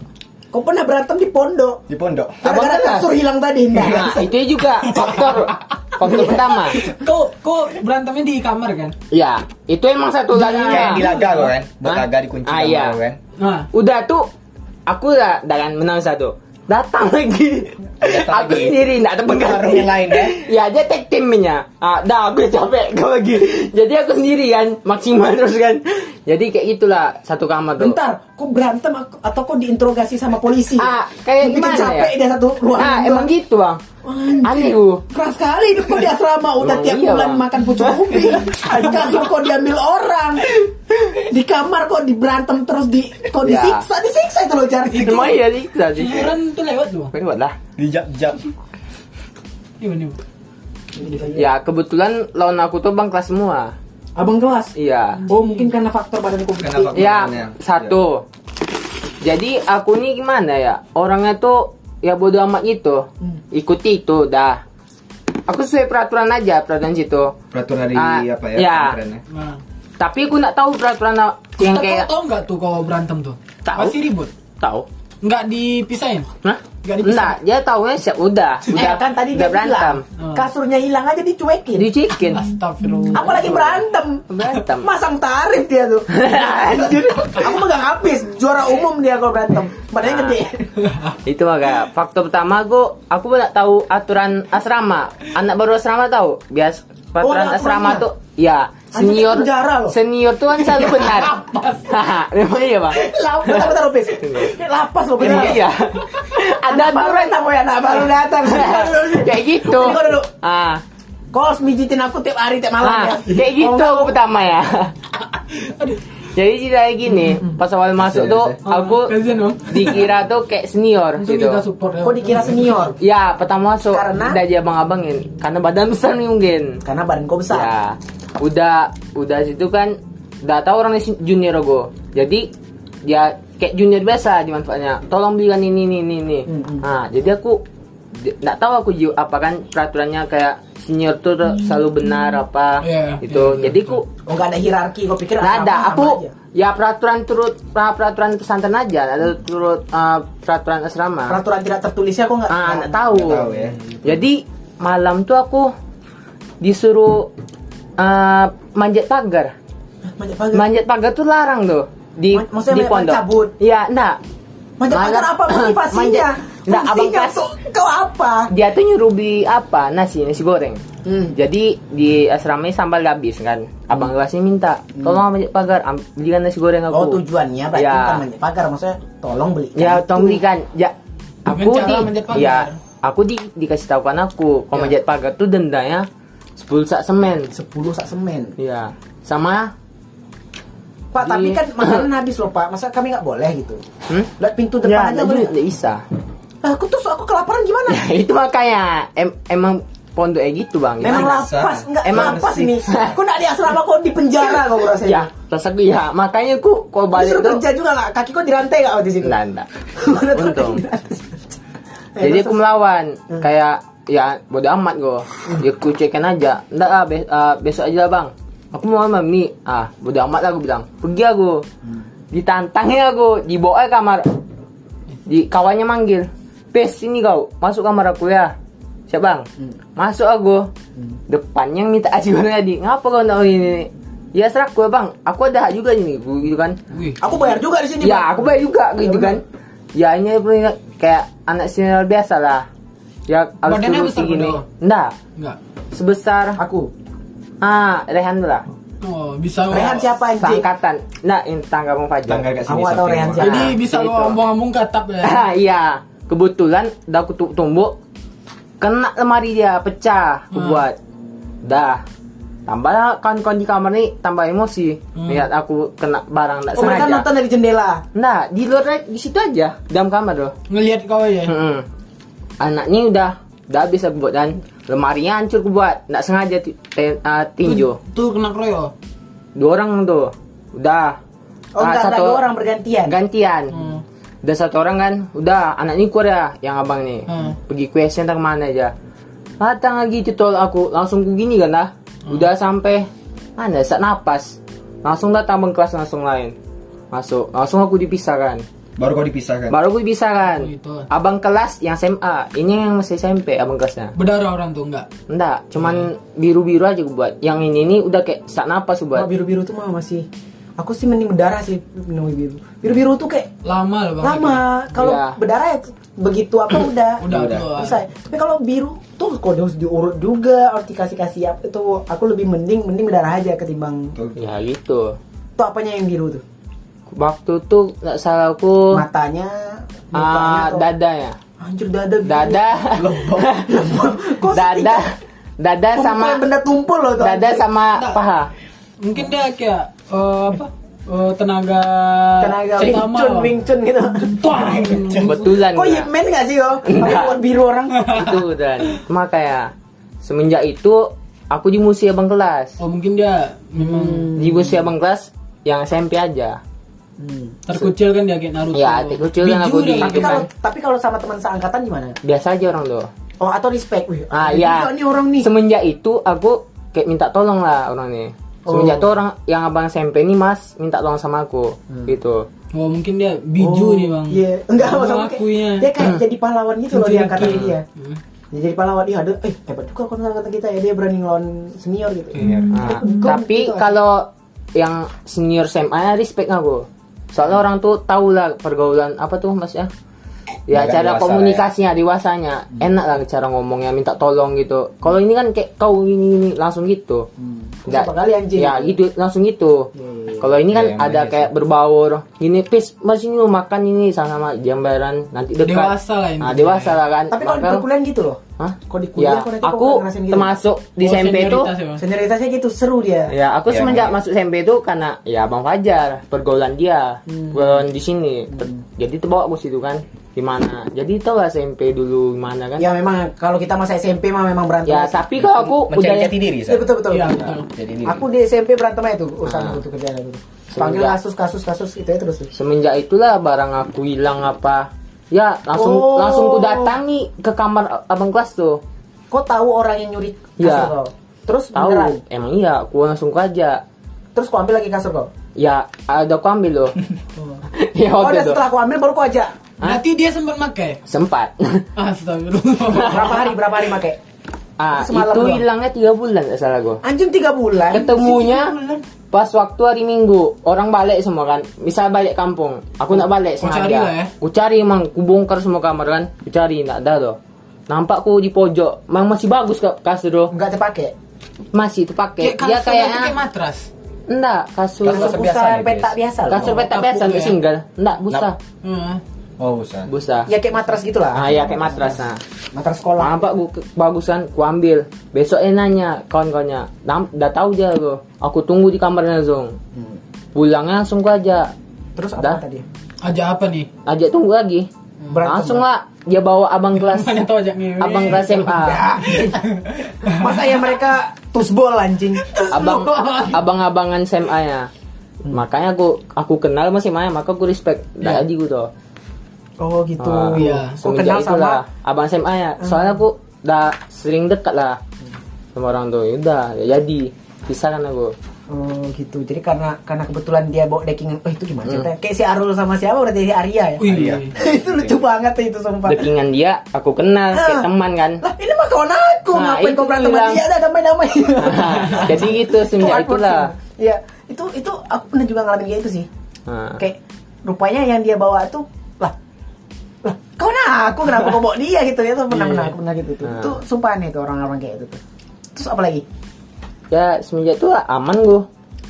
Kau pernah berantem di pondok? di pondok Gara-gara Abang kasur hilang tadi. Nah, Nah, itu juga faktor faktor pertama. Kok kok berantemnya di kamar kan? Ya, itu emang satu lagi. kayak Kak. di laga kau kan buat Hah? laga dikunci Ah, kamar iya. kau kan Nah, Udah tuh aku udah dengan menang satu. Datang lagi. Datang aku lagi. sendiri enggak ada pengaruh pengganti. yang lain ya Ya dia tag timnya. Ah, dah aku capek kau lagi. Jadi aku sendiri kan maksimal terus kan. Jadi kayak gitulah satu kamar tuh. bentar, kau berantem aku- atau kau diinterogasi sama polisi? Ah, kayak Bikin gimana capek ya? dia satu ruangan. Ah, doang. emang gitu, Bang. Anjir. Aneh, Bu. Keras sekali hidup kau di asrama udah Emang tiap iya, bulan Bang. makan pucuk ubi. Di kasur kau diambil orang. Di kamar kau diberantem terus di kau Ya. disiksa, disiksa itu loh jar. Lumayan ya, sih, bisa Iya. sih. Iuran tuh lewat tuh. Iya, Bang. Lewat lah. dijak jak Gimana? Bang? Ya, kebetulan lawan aku tuh Bang kelas semua. Abang kelas. Iya. Oh, mungkin karena faktor badanku Karena kecil. faktor. Temennya. Ya, satu. Iya. Jadi aku nih gimana ya? Orangnya tuh ya bodo amat gitu. Hmm. Ikuti itu dah. Aku sesuai peraturan aja, peraturan situ. peraturan dari Ah, apa ya ya. pesantrennya. Nah. Tapi aku nggak tahu peraturan a- yang Tapi kayak kau tahu nggak tuh kalau berantem tuh? Tahu. Pasti ribut. tahu. Nggak dipisahin. Nah, Nggak dipisah. enggak, dia tahunya siap udah, udah Eh, kan tadi udah dia berantem. bilang Hmm. Iya. kasurnya hilang aja dicuekin. Dicikin. Astagfirullah. Apalagi berantem. Berantem. Masang tarif dia tuh. Anjir. Aku megang habis juara umum dia kalau berantem. Badannya gede. Itu agak faktor pertama aku aku nggak tahu aturan asrama. Anak baru asrama tahu. Bias peraturan ada asrama aturannya? tuh ya senior di penjara loh. senior tuh kan selalu benar. Hahaha, Memang iya, Pak. Lapas bentar, bentar Opis. Lapas lo bener. Emang iya. Ada Anak baru aturan datang ya, anak baru datang. kayak gitu. Ini kau duduk. Ah, Kau harus mijitin aku tiap hari tiap malam ah, ya. kayak gitu aku pertama ya. Jadi ceritanya gini, pas awal masuk Kasihan, tuh Ah, aku kasihan, Bang. dikira tuh kayak senior Untuk gitu. kita support ya. Kau dikira senior Ya, pertama masuk Karena? udah aja abang-abangin karena badan besar nih mungkin. karena badan kau besar. Ya, udah udah situ kan udah tahu orang ini junior gue. Jadi ya kayak junior biasa dimanfaatnya. Tolong belikan ini ini ini ini. Hmm, Nah, jadi aku di- nggak tahu aku ju- apa kan peraturannya kayak senior tuh tuh selalu benar apa Iya, gitu. iya, jadi aku Oh nggak ada hierarki, kau pikir nggak ada. asrama sama Aku aja. ya peraturan turut pra- peraturan pesantren aja, nggak ada turut eh, peraturan asrama. peraturan tidak tertulisnya kok nggak Ah, nggak tahu. Nggak tahu ya. Jadi malam tuh aku disuruh eh, manjat pagar. Manjat pagar. Manjat pagar tuh larang tuh di Ma- maksudnya di manjat pondok. cabut? Iya, nah. Manjat pagar Malam- apa motivasinya? Manjat- Nggak, abang Fungsinya kas- untuk kau apa? Dia tuh nyuruh beli apa? Nasi, nasi goreng. Jadi di asrama ini sambal udah habis kan. Abang kelasnya minta, "Tolong manjat pagar, am- belikan nasi goreng aku." Hmm. Oh tujuannya berarti Ya. bukan manjat pagar, maksudnya tolong beli. Ya, tolong belikan. Ya, aku cara di manjat pagar. ya, aku di dikasih tahu kan aku, Ya. kalau manjat pagar tuh dendanya 10 sak semen. 10 sak semen. Iya. Sama Pak, tapi Di- kan makanan habis loh, Pak. Masa kami nggak boleh gitu? hmm? Lihat pintu depan Ya, aja boleh. nggak bisa. Lah, aku tuh aku kelaparan gimana? Ya, itu makanya em- emang pondoknya gitu, Bang. Memang Gimana? Bisa. lapas, enggak Emang lapas sih. ini. Kau enggak di asrama, kau di penjara kau ya, rasanya. rasa gue ya. Makanya ku kalau balik Disuruh tuh kerja juga enggak? Kaki kau dirantai enggak waktu situ? Nah, nah. Mana tahu Hmm. Untung. kaki dirantai. Eh, Jadi terus- aku melawan kayak ya bodo amat gue. Hmm. Ya ku cekin aja. Enggak ah, be- ah, besok aja lah, Bang. Aku mau sama Mi. Ah, bodo amat lah aku bilang. Pergi aku. Hmm. Ditantangnya aku, dibawa ke kamar. Di kawannya manggil. Pes sini kau, masuk kamar aku ya. Siap bang, Hmm. masuk aku. Depannya minta aji goreng tadi. Ngapa kau tahu ini? Ya serak gue bang, aku ada hak juga ini, gitu kan. Wih. aku bayar juga di sini. Ya, aku baik juga gitu kan. Ya ini punya- kayak anak senior biasa lah. Ya harus Badannya dulu besar segini. padahal. Nah, Enggak. sebesar Pak. aku. ah Rehan lah. Oh, bisa lo- Rehan siapa anjing? Sangkatan. Nah, ini tangga Bang Fajar. tanggal kat sini Aku nggak tahu sampai Rehan rumah. siapa. Jadi Ah, bisa lo itu. ambung-ambung katap ya. Ah, iya. Kebetulan dah aku tu- tumbuk kena lemari dia pecah aku Hmm. buat. Dah. Tambah kawan-kawan di kamar nih tambah emosi. Lihat aku kena barang tak Hmm. Oh, mereka sengaja. nonton dari jendela. Nah, di luar di situ aja, dalam kamar loh. Ngelihat kau ya. Mm-mm. Anaknya udah udah habis aku buat dan lemarinya hancur aku buat nggak sengaja ti- te- ah, tinju Tuh kena kroyok. dua orang tuh udah Oh, Ah, enggak, enggak, dua orang Hmm. bergantian. gantian udah satu orang kan udah anak ini keluar ya yang abang nih Hmm. pergi question tak mana aja datang lagi itu tol aku langsung ku gini kan lah Hmm. udah sampai mana sak napas langsung datang abang kelas langsung lain masuk langsung aku dipisahkan Baru kau dipisahkan. baru aku dipisahkan Oh, gitu. abang kelas yang SMA ini yang masih SMP abang kelasnya Berdarah orang tuh enggak? enggak cuman biru-biru aja aku buat yang ini ini udah kayak sak napas aku buat Wah, biru-biru tuh mah masih aku sih mending berdarah sih minum biru. Biru-biru tuh kayak Lama loh bang. lama kalau Iya. berdarah ya begitu apa udah Udah, Udah. udah. selesai. Tapi kalau biru tuh kok harus diurut juga, harus dikasih-kasih apa itu aku lebih mending mending berdarah aja ketimbang ya gitu tuh apanya yang biru tuh? waktu tuh nggak salah aku Matanya, mukanya Oh. Ah, atau- dada ya. Anjir dada biru. Dada. Kok dada. Dada Kumpul sama benda tumpul loh tuh. dada sama paha. Mungkin dia kayak eh, apa? eh, tenaga tenaga Wing Saitama, Chun, Bang. Wing Chun gitu. Tuang. Kebetulan. Kok iya, ya. Ip Man gak sih yo? Kalau biru orang. Itu dan cuma kayak semenjak itu aku di musuh abang kelas. Oh mungkin dia Hmm. memang Di musuh abang kelas yang SMP aja. terkucil kan dia kayak Naruto. Ya, adik kecil kan aku di gitu. Tapi kalau depan. tapi kalau sama teman seangkatan gimana? Biasa aja orang tuh. Oh atau respect. Wih, iya. Ah, ada ya. juga nih orang nih. Semenjak itu aku kayak minta tolong lah orang nih. Semenjak Oh. itu orang yang abang SMP ini mas minta tolong sama aku Hmm. gitu. Oh mungkin dia biju nih bang. Oh, Iya, enggak Sama maksudnya akunya. kayak, dia kayak jadi pahlawan gitu loh di Jadi angkatan kayak- dia. Hmm. Dia jadi pahlawan dia ada eh hebat juga kalau angkatan kita ya dia berani ngelawan senior gitu. Nah, Kok tapi gitu, kalau yang senior SMA respect aku. Soalnya orang tuh tahu lah pergaulan apa tuh mas ya. Ya Agak cara dewasa lah Hmm. komunikasinya dewasanya enak lah cara ngomongnya minta tolong gitu. Kalau ini kan kayak kau gini gini langsung gitu. Hmm. Nggak- Berapa kali anjing? Iya, Ya gitu langsung gitu. Kalau ini kan Ya, emang ada iya kayak berbaur. Gini pis mas ini lu makan ini sama-sama jambaran nanti dekat. Dewasa lah Nah, intinya. dewasa lah kan. Tapi kalau di Maka- perkuliahan gitu loh. Hah? Kalau di Ya, kuliah kok nanti kok aku nggak ngerasain gitu. termasuk di Oh, SMP itu senioritas ya, Bang. Senioritasnya gitu seru dia. Ya, aku Ya, semenjak makanya. masuk SMP itu karena ya Bang Fajar, pergaulan dia, Hmm. pergaulan di sini. Ter- Jadi terbawa aku situ kan. Gimana? Jadi tau lah SMP dulu gimana kan? Ya Ya, memang kalau kita masa SMP mah memang berantem. tapi kok aku udah Mencari jati diri, Iya betul betul. Iya, betul. betul. Jadi diri. Aku di SMP berantem aja tuh urusan Ah. itu kerjaan itu. Panggil Semenjak- kasus kasus kasus itu ya terus. semenjak itulah barang aku hilang apa. Ya, langsung Oh. langsung ku datangi ke kamar abang kelas tuh. Kok tahu orang yang nyuri kasur Iya. kau? Terus Tahu, beneran. emang iya, aku langsung ku aja. Terus kau ambil lagi kasur kau. Ya, ada aku ambil loh. ya, Oh, waktu udah itu. setelah aku ambil baru kau ajak. Berarti dia sempat pakai. Sempat. Astagfirullah. Berapa hari berapa hari make? ah, Semalam itu doang. hilangnya tiga bulan, nggak salah gua. Anjing tiga bulan. ketemunya pas waktu hari minggu orang balik semua kan misal balik kampung aku nak balik kau sengaja cari lah ya? aku cari emang aku bongkar semua kamar kan aku cari nak ada tuh nampak aku di pojok emang masih bagus kak kasur tuh Enggak terpakai. masih tuh Kayak pakai dia kasur itu kayak kayaknya matras. enggak kasur Kasur biasa kasur, Busa nih, petak Chris. biasa. loh. petak kapuk biasa ya? tuh single enggak busa Nap. Heeh. Oh, usah. busa Ya kayak matras gitulah. ah ya kayak matras nah Matras sekolah. nampak gua ke- bagus kan ku ambil besok nanya kawan-kawannya Nam- dah tahu aja gua aku tunggu di kamarnya langsung Hmm. pulangnya langsung gua aja Terus Dah. apa tadi? Ajak apa nih? ajak tunggu lagi Hmm. Berantem, langsung lah dia bawa abang kelas Mana tahu ajak ngewe. abang kelas SMA Ya. Masa ya mereka tusbol anjing. abang abang abangan SMA nya Hmm. makanya aku aku kenal sama SMA -nya, maka aku respect dah aja gitu Oh gitu. Ah, iya. Kok Ya. kenal sama Hmm. semenjak itulah, abang SMA nya soalnya aku dah sering dekat lah sama orang tuh udah ya jadi pisah kan aku Oh gitu. Jadi karena karena kebetulan dia bawa dekingan. Oh itu gimana Hmm. ceritanya? Kayak si Arul sama siapa berarti si Arya ya. Wih. Iya. itu lucu banget tuh itu sumpah. dekingan dia aku Ah. kenal kayak teman kan Lah ini mah kawan aku Nah, ngapain kau itu berantem sama bilang. dia dah damai-damai. jadi gitu semenjak itulah Iya, itu itu aku pernah juga ngalamin kayak itu sih. Nah, Kayak rupanya yang dia bawa tuh lah lah kawan aku kenapa kau bawa dia gitu ya tuh pernah pernah aku pernah gitu tuh. Nah. Itu sumpah nih tuh orang-orang kayak itu tuh. Terus apa lagi? ya semenjak itu aman gua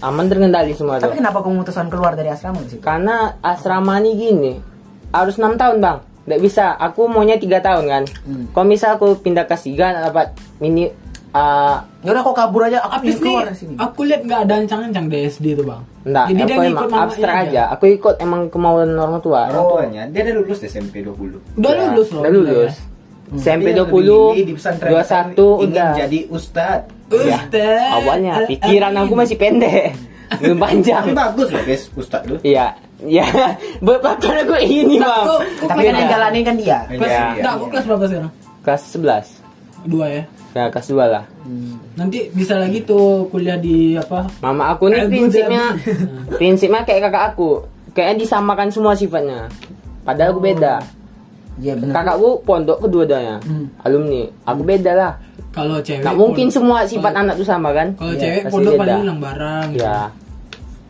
aman terkendali semua tuh Tapi kenapa kau memutuskan keluar dari asrama di situ? Karena asrama nih gini, harus enam tahun bang, nggak bisa. Aku maunya tiga tahun kan. Kalau misal aku pindah ke Siga, dapat mini. ah, Ya udah kau kabur aja, aku pengen Habis nih, keluar dari sini. aku lihat nggak ada ancang-ancang DSD tuh bang. enggak, Jadi dia aku ngikut emang mamanya abstrak aja. Aku ikut emang kemauan orang tua. Orang tuanya, dia Oh, udah lulus SMP 20. Udah Ya, lulus loh. Udah lulus. Hmm. SMP Dia Iya, 20, lebih milih di pesantren 21 ingin udah. Iya, jadi ustad. Iya. Iya. Ustad. Eh, Awalnya pikiran aku masih pendek. Belum panjang. Tapi bagus loh guys, ustad lu. Iya. Iya. Berpapan aku ini, Bang. Tapi kan yang jalanin kan dia. Iya, Kelas, iya. enggak, aku kelas berapa sekarang? kelas 11. Dua ya. Nah, kelas 2 lah. Nanti bisa lagi tuh kuliah di apa? Mama aku nih Abu prinsipnya prinsipnya kayak kakak aku. Kayaknya disamakan semua sifatnya. Padahal aku beda. Iya Oh. benar. Kakakku pondok kedua-duanya. Alumni. Aku beda lah. Kalau Hmm. cewek. Nggak mungkin pondok- semua sifat anak tuh sama kan? Kalau Iya, cewek pasti pondok beda. paling hilang barang. gitu. Ya.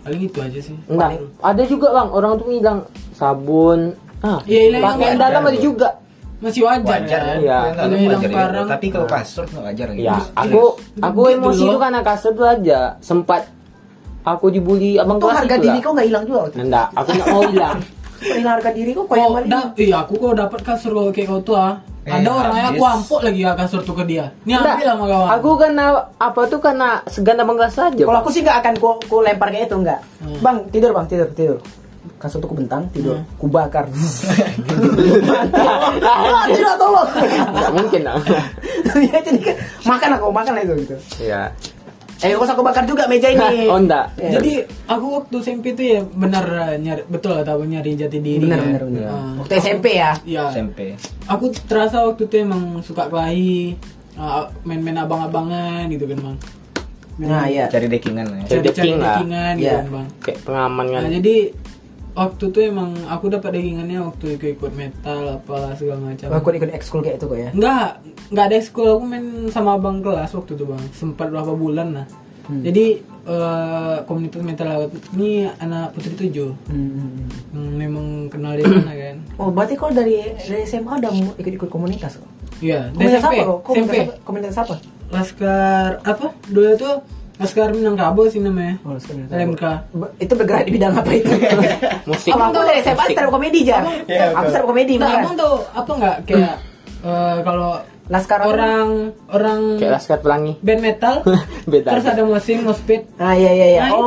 Paling itu aja sih. Enggak. Ada juga bang orang tuh hilang sabun. Ah, Iya, hilang pakaian juga. dalam ada juga. Masih wajar. Wajar kan? Iya. Kalian lalu Ini wajar yang ya, parang. Tapi kalau kasur nggak wajar gitu. Ya, aku aku Gede emosi dulu. itu karena kasar tuh aja. Sempat aku dibully abang Tuh kelas harga itu diri lah. kau nggak hilang juga waktu itu. Enggak, aku nggak mau hilang. Perihal harga diri kau kau yang Kok balik. da- iya aku kok dapat kasur kau kayak kau tuh ah. Eh, Ada orang ya aku habis. ampok lagi ya kasur tuh ke dia. Ini Enggak, ambil sama kawan. Aku karena apa tuh karena segan abang kelas aja. Kalau aku sih nggak akan ku, ku lempar kayak itu nggak. Hmm. Bang tidur bang tidur tidur. Kasur tuh ku bentang tidur. Ku bakar. Ah, Tidak tolong. Nggak mungkin lah. Ya jadi kan, makan aku makan lah itu gitu. Iya. Eh kau aku bakar juga meja ini. Oh enggak. Jadi aku waktu SMP tuh ya benar eh, nyari betul lah tahu nyari jati diri. Benar ya. benar benar. Ah, Waktu SMP ya. Iya. SMP. Aku terasa waktu itu emang suka kelahi ah, main-main abang-abangan gitu kan bang. Nah iya. Cari dekingan lah. ya. Jadi Cari-cari king lah. dagingan gitu Iya. kan bang. Kayak pengaman kan. Nah, jadi waktu tuh emang aku dapat dagingannya waktu ikut-ikut metal apa segala macam. Aku ikut ekskul kayak itu kok ya. Enggak, enggak ada ekskul aku main sama abang kelas waktu itu bang, sempat berapa bulan lah. Hmm. Jadi eh, komunitas metal laut ini anak putri tujuh, Hmm, memang kenal di sana kan? Oh berarti kau dari dari SMA udah mau ikut-ikut komunitas kok? Iya, dari Komunitas SMP, apa kok? SMP, Komunitas apa? Komunitas apa? Laskar apa? Dulu tuh Laskar Minangkabau sih namanya. Oh, Laskar Minangkabau. LMK. Be- itu bergerak di bidang apa itu? Musik. Abang tuh dari SMA stand up komedi aja. Iya, Aku betul. stand up komedi Nah, beneran. abang tuh apa enggak kayak eh, kalau Laskar apa? orang orang Kayak laskar pelangi. band metal Beda. terus ada mesin mospit. Ah iya iya iya. Nah, oh,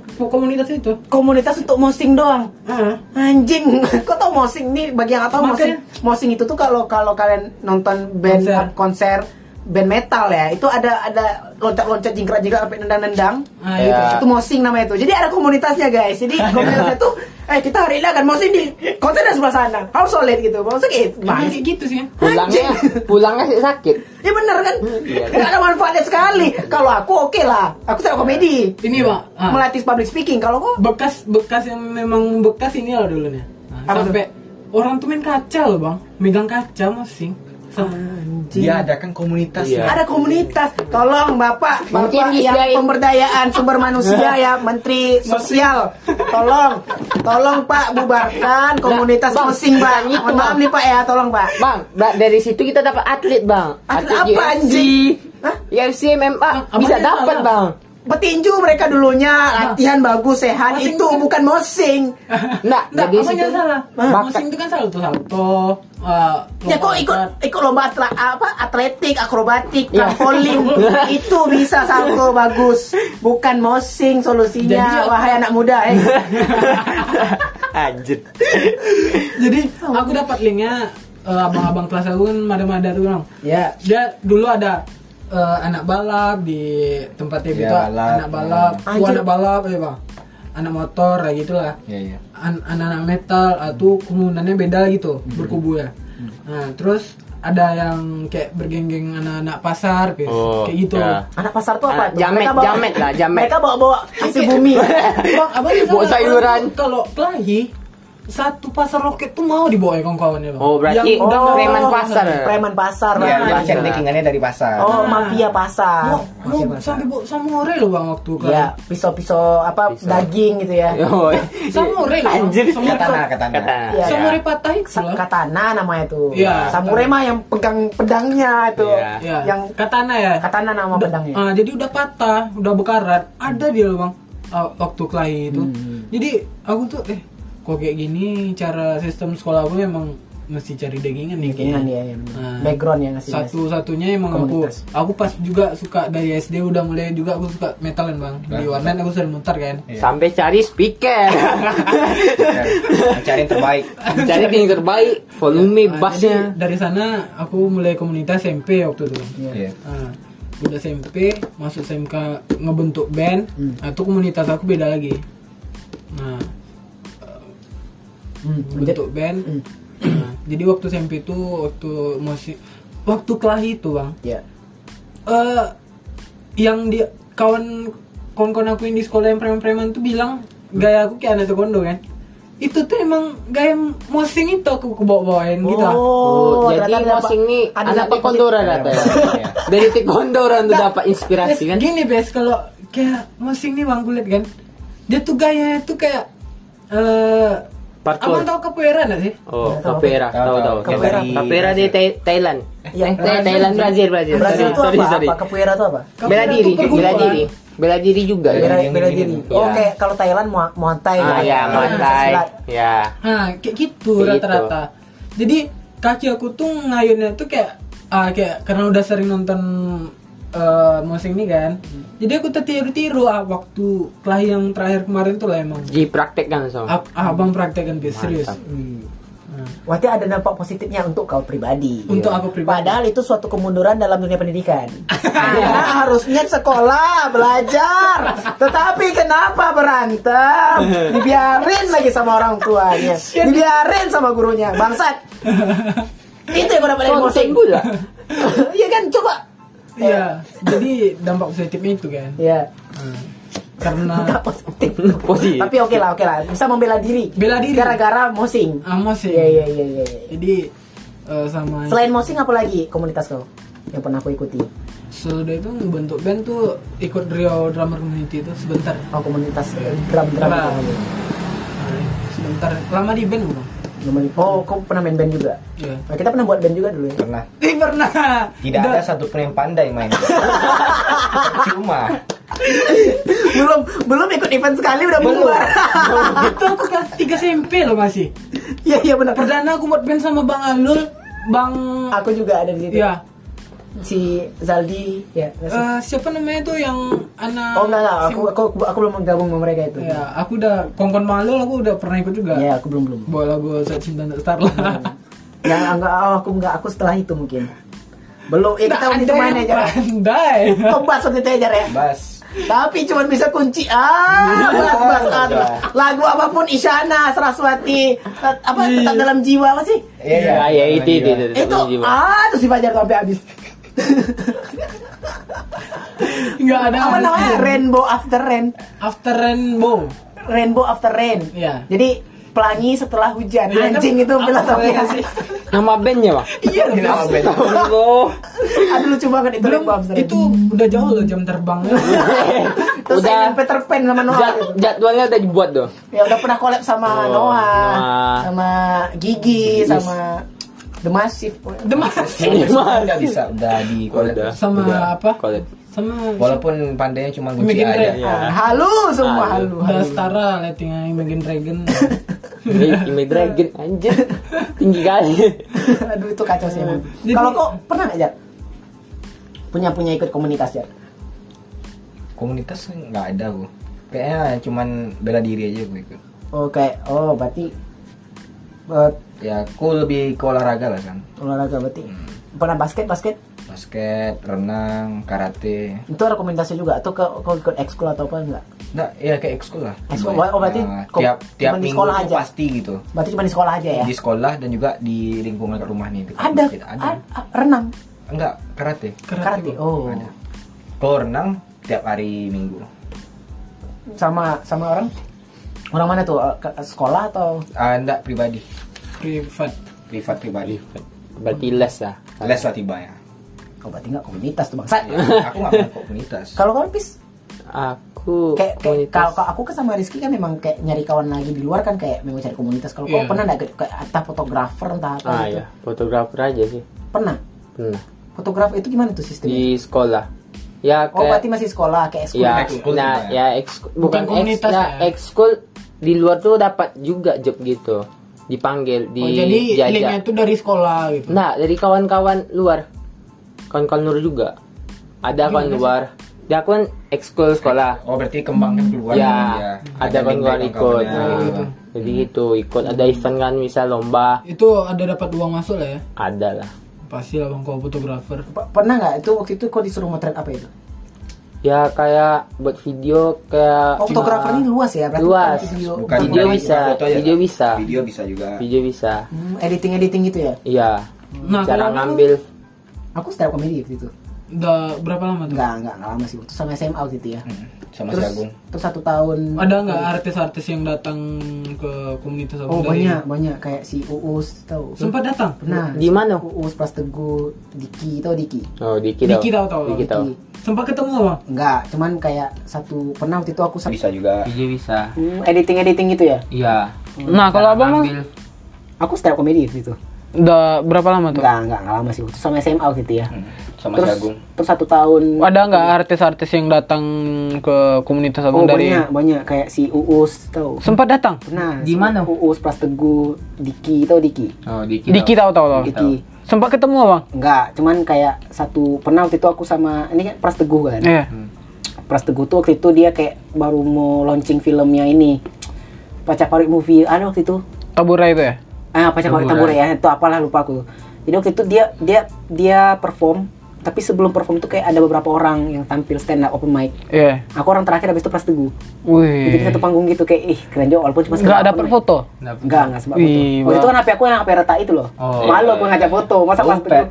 itu komunitas itu. komunitas untuk mosing doang. Heeh. Anjing, kok tau mosing nih bagi yang nggak tahu mosing. Makanya. Mosing itu tuh kalau kalau kalian nonton band Konser. konser, band metal ya, itu ada ada loncat-loncat jingkrak-jingkrak sampai nendang-nendang. Ah, Gitu. iya. Itu mosing namanya itu. Jadi ada komunitasnya guys. Jadi komunitasnya tuh eh kita hari ini akan mosing di konser dari sebelah sana. Harus solid gitu. Maksudnya kayak Emang gimana sih? kayak gitu sih. Pulangnya pulangnya sih sakit. Ya bener kan? Hmm, iya, Gak ada manfaatnya sekali. Kalau aku oke lah. Aku tidak komedi. Ini pak, ah, Melatih public speaking. Kalau kok bekas bekas yang memang bekas ini loh dulunya. Nah, Apa sampai orang tuh main kaca loh bang, megang kaca masing. Sama- Dia adakan komunitas. Iya. ada komunitas. Tolong Bapak, Mungkin Bapak yang disediain. pemberdayaan sumber manusia ya, Menteri Sosial. Tolong, tolong Pak bubarkan komunitas Bang, mosing Pak. bukan itu, Mohon maaf Bang. nih Pak ya, tolong Pak. Bang, ba- dari situ kita dapat atlet, Bang. Atlet apa, UFC. anjing? Hah? UFC MMA Abang bisa dia dapat, salah. Bang. Petinju mereka dulunya latihan bagus sehat Mosing itu kan- bukan mosing. Nah, Nggak, dari apa situ yang salah? Bakat. Mosing itu kan salto salto. ah, Ya kok ikut lompat. ikut lomba atla- apa atletik, akrobatik, Iya. trampolin itu bisa salto bagus, bukan mosing solusinya Jadi, wahai anak muda eh. Anjir. Jadi aku dapat linknya eh, abang-abang kelas aku kan mada-mada tuh bang. Ya. Dia dulu ada eh, anak balap di tempat TV Ya, itu balap. anak balap, Hmm. Wah, Anjir. anak balap ya bang, anak motor ya gitulah. Iya, iya. An- anak-anak metal atau kemunannya beda gitu berkubu ya. Nah terus ada yang kayak bergenggeng anak-anak pasar guys. Oh, kayak gitu. ya. Anak pasar tuh apa? Anak tuh? jamet, Mereka bawa- jamet lah, jamet. Iya. Mereka bawa-bawa hasil bumi. Bang, abang bisa Buat nggak sayuran. kalau- kalau kelahi satu pasar roket tuh mau dibawa ya kawan-kawannya bang. Oh, berarti Yang udah- preman pasar. Preman pasar. Iya, preman dia pasar. cari dekingannya dari pasar. Oh, mafia pasar. mau, mau Mafia Ah, pasar. sampai bawa samurai loh bang waktu Iya. kelahi. Ya, pisau-pisau apa daging gitu ya. Oh, Samurai loh. Anjir. Samurai, Iya, Katana, katana. Katana. Iya. samurai patah itu Sa- loh. Katana namanya tuh. Iya. Samurai mah yang pegang pedangnya itu. Iya. Ya, Yang iya. katana ya. katana nama Udah- pedangnya. ah, jadi udah patah, udah bekarat. Ada dia loh bang. ah, waktu kelahi Hmm. itu. Jadi aku tuh eh kok kayak gini cara sistem sekolah aku memang mesti cari dagingan nih Keinginan kayaknya. dia yang Nah, iya, background yang ngasih guys. satu-satunya emang aku Komunitas. aku pas juga suka dari SD udah mulai juga aku suka metalan bang di Nah. warnet aku sering mutar kan Iya. Sampai cari speaker. Iya. Cari yang terbaik. cari yang terbaik, volume Nah, bassnya. jadi dari sana aku mulai komunitas SMP waktu itu Bang. Iya. Nah, udah SMP masuk SMK ngebentuk band nah, itu komunitas aku beda lagi nah eh, bentuk band Nah, jadi waktu SMP itu waktu masih waktu kelahi itu bang Iya. eh yang dia kawan kawan-kawan aku yang di sekolah yang preman-preman tuh bilang gaya aku kayak anak taekwondo kan itu tuh emang gaya mosing itu aku kebawa-bawain gitu lah. Oh, Oh, jadi ternyata ada masing ini ada anak dapat tekondoran katanya. Iya. Dari tekondoran tuh dapat inspirasi kan. Gini bes kalau kayak mosing nih bang kulit kan, dia tuh gaya tuh kayak eh Parkour. Abang tahu capoeira nggak sih? Oh, kapera, Tahu, tahu tahu. tahu. Kapera, Dari- kapera di Thai- Thailand. Iya, Eh, Thailand, Brazil, Brazil. Brazil Sorry, itu sorry, apa? sorry. Apa capoeira itu apa? Bela Capoeira diri, tuh bela perkumpulan. diri. Bela diri juga. Bela, ya? bela diri. Oh, Iya. kayak kalau Thailand Muay- Muay Thai. Ah, kan? ya, Kalau Muay bisa Thai. silat. Ya. Nah, kayak gitu Kayak rata-rata. Jadi kaki aku tuh ngayunnya tuh kayak ah kayak karena udah sering nonton eh musik ini kan. Hmm. Jadi aku tertiru-tiru ah, waktu kelahi yang terakhir kemarin tuh lah Oh. emang. Dipraktekkan sama. Ab- ah, abang praktekan bis serius. Berarti ada dampak positifnya untuk kau pribadi. Untuk aku pribadi. Padahal itu suatu kemunduran dalam dunia pendidikan. Karena harusnya sekolah, belajar. Tetapi kenapa berantem? Dibiarin lagi sama orang tuanya. Dibiarin sama gurunya. Bangsat. Itu yang gue dapat emosi. Konten ya? pula. Iya kan, coba. Iya, jadi dampak positifnya itu kan. Iya. Hmm. Karena Dampak positif. Positif. Tapi oke lah, oke lah. Bisa membela diri. Bela diri. Ah. Gara-gara mosing. amos sih. Iya, iya, iya, iya. iya. Jadi eh, sama Selain mosing apa lagi komunitas kau yang pernah aku ikuti? Soluda itu bentuk band tuh ikut Rio Drummer Community itu sebentar. Oh komunitas eh, drum drum. Nah. Sebentar. Lama di band bukan? Nomor- Oh kau pernah main band juga? Iya. Nah, kita pernah buat band juga dulu ya. Pernah. Ih pernah. Tidak ada satu pun yang pandai main. Cuma belum belum ikut event sekali udah bubar. itu aku kelas 3 SMP loh masih. Iya iya benar. Perdana aku buat band sama Bang Alul, Bang Aku juga ada di situ. ya. Si Zaldi ya. nggak sih? eh, siapa namanya tuh yang anak oh enggak enggak aku Sim- aku aku, aku belum gabung sama mereka itu. ya, aku udah kongkon Bang Alul aku udah pernah ikut juga. Iya Hmm. aku belum belum. Bola gue saat cinta untuk star lah. Yang enggak oh, aku enggak aku setelah itu mungkin. Belum ya kita waktu itu main aja. Pandai. Kebas waktu itu aja ya. bas. Tapi cuman bisa kunci ah, bas bas ah, lagu apapun Isyana, Saraswati, tet- apa tetap dalam jiwa apa sih? iya, Ya, ya, Iya. itu, itu, itu. Itu Dalam jiwa. ah terus si Fajar tuh sampai habis. Enggak ada. apa namanya? Rainbow after rain, After Rainbow. rainbow after rain. Iya. Jadi pelangi setelah hujan. Anjing itu filosofi sih. Nama bandnya, Bang. Iya, loh. Kenapa beda? Halo. Aduh lucu banget itu belum rainbow after rain. itu udah jauh loh jam terbangnya. terus udah. saya Peter Pan sama Noah. Jad, gitu. jadwalnya udah dibuat tuh. Ya udah pernah collab sama Oh, Noah, Noah. sama Gigi, sama The Massive. Demas Enggak bisa udah di Udah. sama apa? Collab. Sama Walaupun pandainya cuma kunci Bikin aja. re- Ya. Halo semua Halu. Ah, halu. udah setara lettingnya Imagine Dragon. Ime Dragon anjir. Tinggi kali. Aduh itu kacau sih emang. Jadi- Kalau kok pernah nggak Jar? Punya punya ikut komunitas Jar? Komunitas nggak ada gua. Kayaknya cuman bela diri aja gue ikut. Oh kayak oh berarti eh, Ya, aku lebih ke olahraga lah kan. olahraga berarti pernah basket basket Basket, renang, karate. itu ada komunitasnya juga atau ke kau ikut ekskul atau apa enggak? Nah, ya kayak ekskul lah. Ekskul, oh, berarti Nah, kok- tiap tiap cuman di minggu sekolah tuh aja? pasti gitu. Berarti cuma di sekolah aja ya? Di sekolah dan juga di lingkungan rumah nih. dekat Ada, masjid. ada. a- a- renang Enggak, karate. karate. Oh Ada. Kalau renang tiap hari minggu. sama sama orang orang mana tuh Eh, ke- sekolah atau Ah, enggak pribadi. Privat. Privat pribadi. Berarti les ah. lah. Les lah tiba ya. kau Oh, berarti nggak komunitas tuh bangsa? Ya, aku nggak main komunitas. Kalau kau bis Aku kayak, kayak komunitas. kalau kalau aku ke sama Rizky kan memang kayak nyari kawan lagi di luar kan kayak memang cari komunitas kalau kau Iya. pernah nggak kayak entah fotografer entah apa Ah gitu ya, fotografer aja sih. pernah Pernah fotografer itu gimana tuh sistemnya di sekolah. Ya Iya. oh berarti Iya, kayak masih sekolah kayak sekolah ya, ekskul nah, juga ya? ya ekskul bukan komunitas eks, ya ya? ekskul di luar tuh dapat juga job gitu. dipanggil di Oh, jadi diajak. linknya itu dari sekolah gitu. Nah, dari kawan-kawan luar. Kawan-kawan luar juga. Ada kawan luar. Dia kan ekskul sekolah. Oh berarti kembangnya keluar ya, ya. ada link kawan-kawan dari ikut. kawan-kawannya. Iya, Nah, Jadi gitu, ikut ada event kan misal lomba, Itu ada dapat uang masuk lah ya? ada lah. Pasti lah bang kalau fotografer. Iya. P- pernah nggak itu waktu itu kau disuruh motret apa itu? Ya kayak buat video kayak Oh, Fotografer ini luas ya, berarti bukan luas. video, Bukan Video bukan bisa, foto aja, video kan? bisa. Video bisa juga. Video bisa. editing editing gitu ya. Iya. Nah, Cara kalau ngambil Aku stand up comedy waktu itu. udah berapa lama tuh? Enggak, enggak, lama sih. Waktu sama SMA waktu itu ya. Sama si Terus, Hmm, Agung. terus satu tahun. Ada nggak artis-artis yang datang ke komunitas Oh abang dari- banyak, banyak kayak si Uus tahu. Sempat datang? Pernah. Di mana? Uus Pras Teguh, Diki tahu Diki. Oh, dikit Dikit tahu, tahu, Dikit tahu. Diki. Sempat ketemu bang? Enggak, cuman kayak satu pernah waktu itu aku sa- Bisa juga. Video bisa. editing editing gitu ya. Iya. Nah, kalau Cara abang Bang, ngambil. Aku stand up comedy waktu itu. udah berapa lama tuh? Enggak, enggak, enggak lama sih. Waktu sama SMA waktu itu ya. Sama si Terus, Agung. terus satu tahun Ada nggak artis-artis yang datang ke komunitas Oh abang dari? banyak, banyak kayak si Uus tahu. Sempat datang? Pernah. si Di mana? Uus Pras Teguh, Diki tahu Diki. Oh, dikit. Diki tahu tahu tahu. Diki. Sempat ketemu abang? Enggak, cuman kayak satu pernah waktu itu aku sama ini kan Pras Teguh kan. Iya. Hmm. Pras Teguh tuh waktu itu dia kayak baru mau launching filmnya ini. Pacak Parit movie ada waktu itu. Tabura itu ya? Ah, Pacak Parit Tambora ya, itu apalah lupa aku. Jadi waktu itu dia dia dia perform, tapi sebelum perform tuh kayak ada beberapa orang yang tampil stand up open mic. Iya. Aku orang terakhir habis itu Pras Teguh. Jadi Wih. satu panggung gitu kayak ih keren juga walaupun cuma Nggak sekedar dapat open mic. foto? Enggak, enggak sebab Wih, foto. Waktu Bang. itu kan HP aku yang HP retak itu loh. Oh. malu aku ngajak foto, masa Pras Teguh.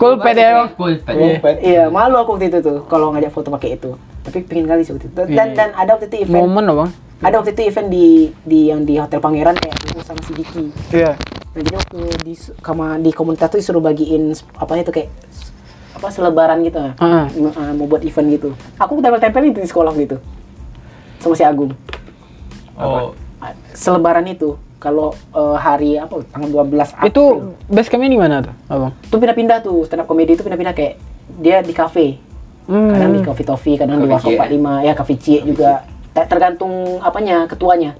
Kulpet ya bang? Pulpet. Iya, malu aku waktu itu tuh kalau ngajak foto pakai itu. Tapi pengen kali sih waktu itu. Dan dan ada waktu itu event Iya. Momen loh bang? ada waktu itu event di di yang di Hotel Pangeran kayak aku sama si Diki. Iya. Nah, jadi waktu di sama di komunitas tuh disuruh bagiin apanya tuh kayak s- apa selebaran gitu nah. Heeh. Nge- eh, mau buat event gitu. Aku tempel-tempelin di sekolah gitu. Sama si Agung. Oh, Ah, Selebaran itu kalau eh, hari apa tanggal 12 April. Itu base campnya di mana tuh abang? tuh pindah-pindah tuh stand up comedy itu pindah-pindah kayak dia di kafe. Hmm. Kadang di Coffee Toffee, kadang di Cafe Warkop Cie. 45, ya Cafe Cie juga. Ter- Tergantung apanya, ketuanya.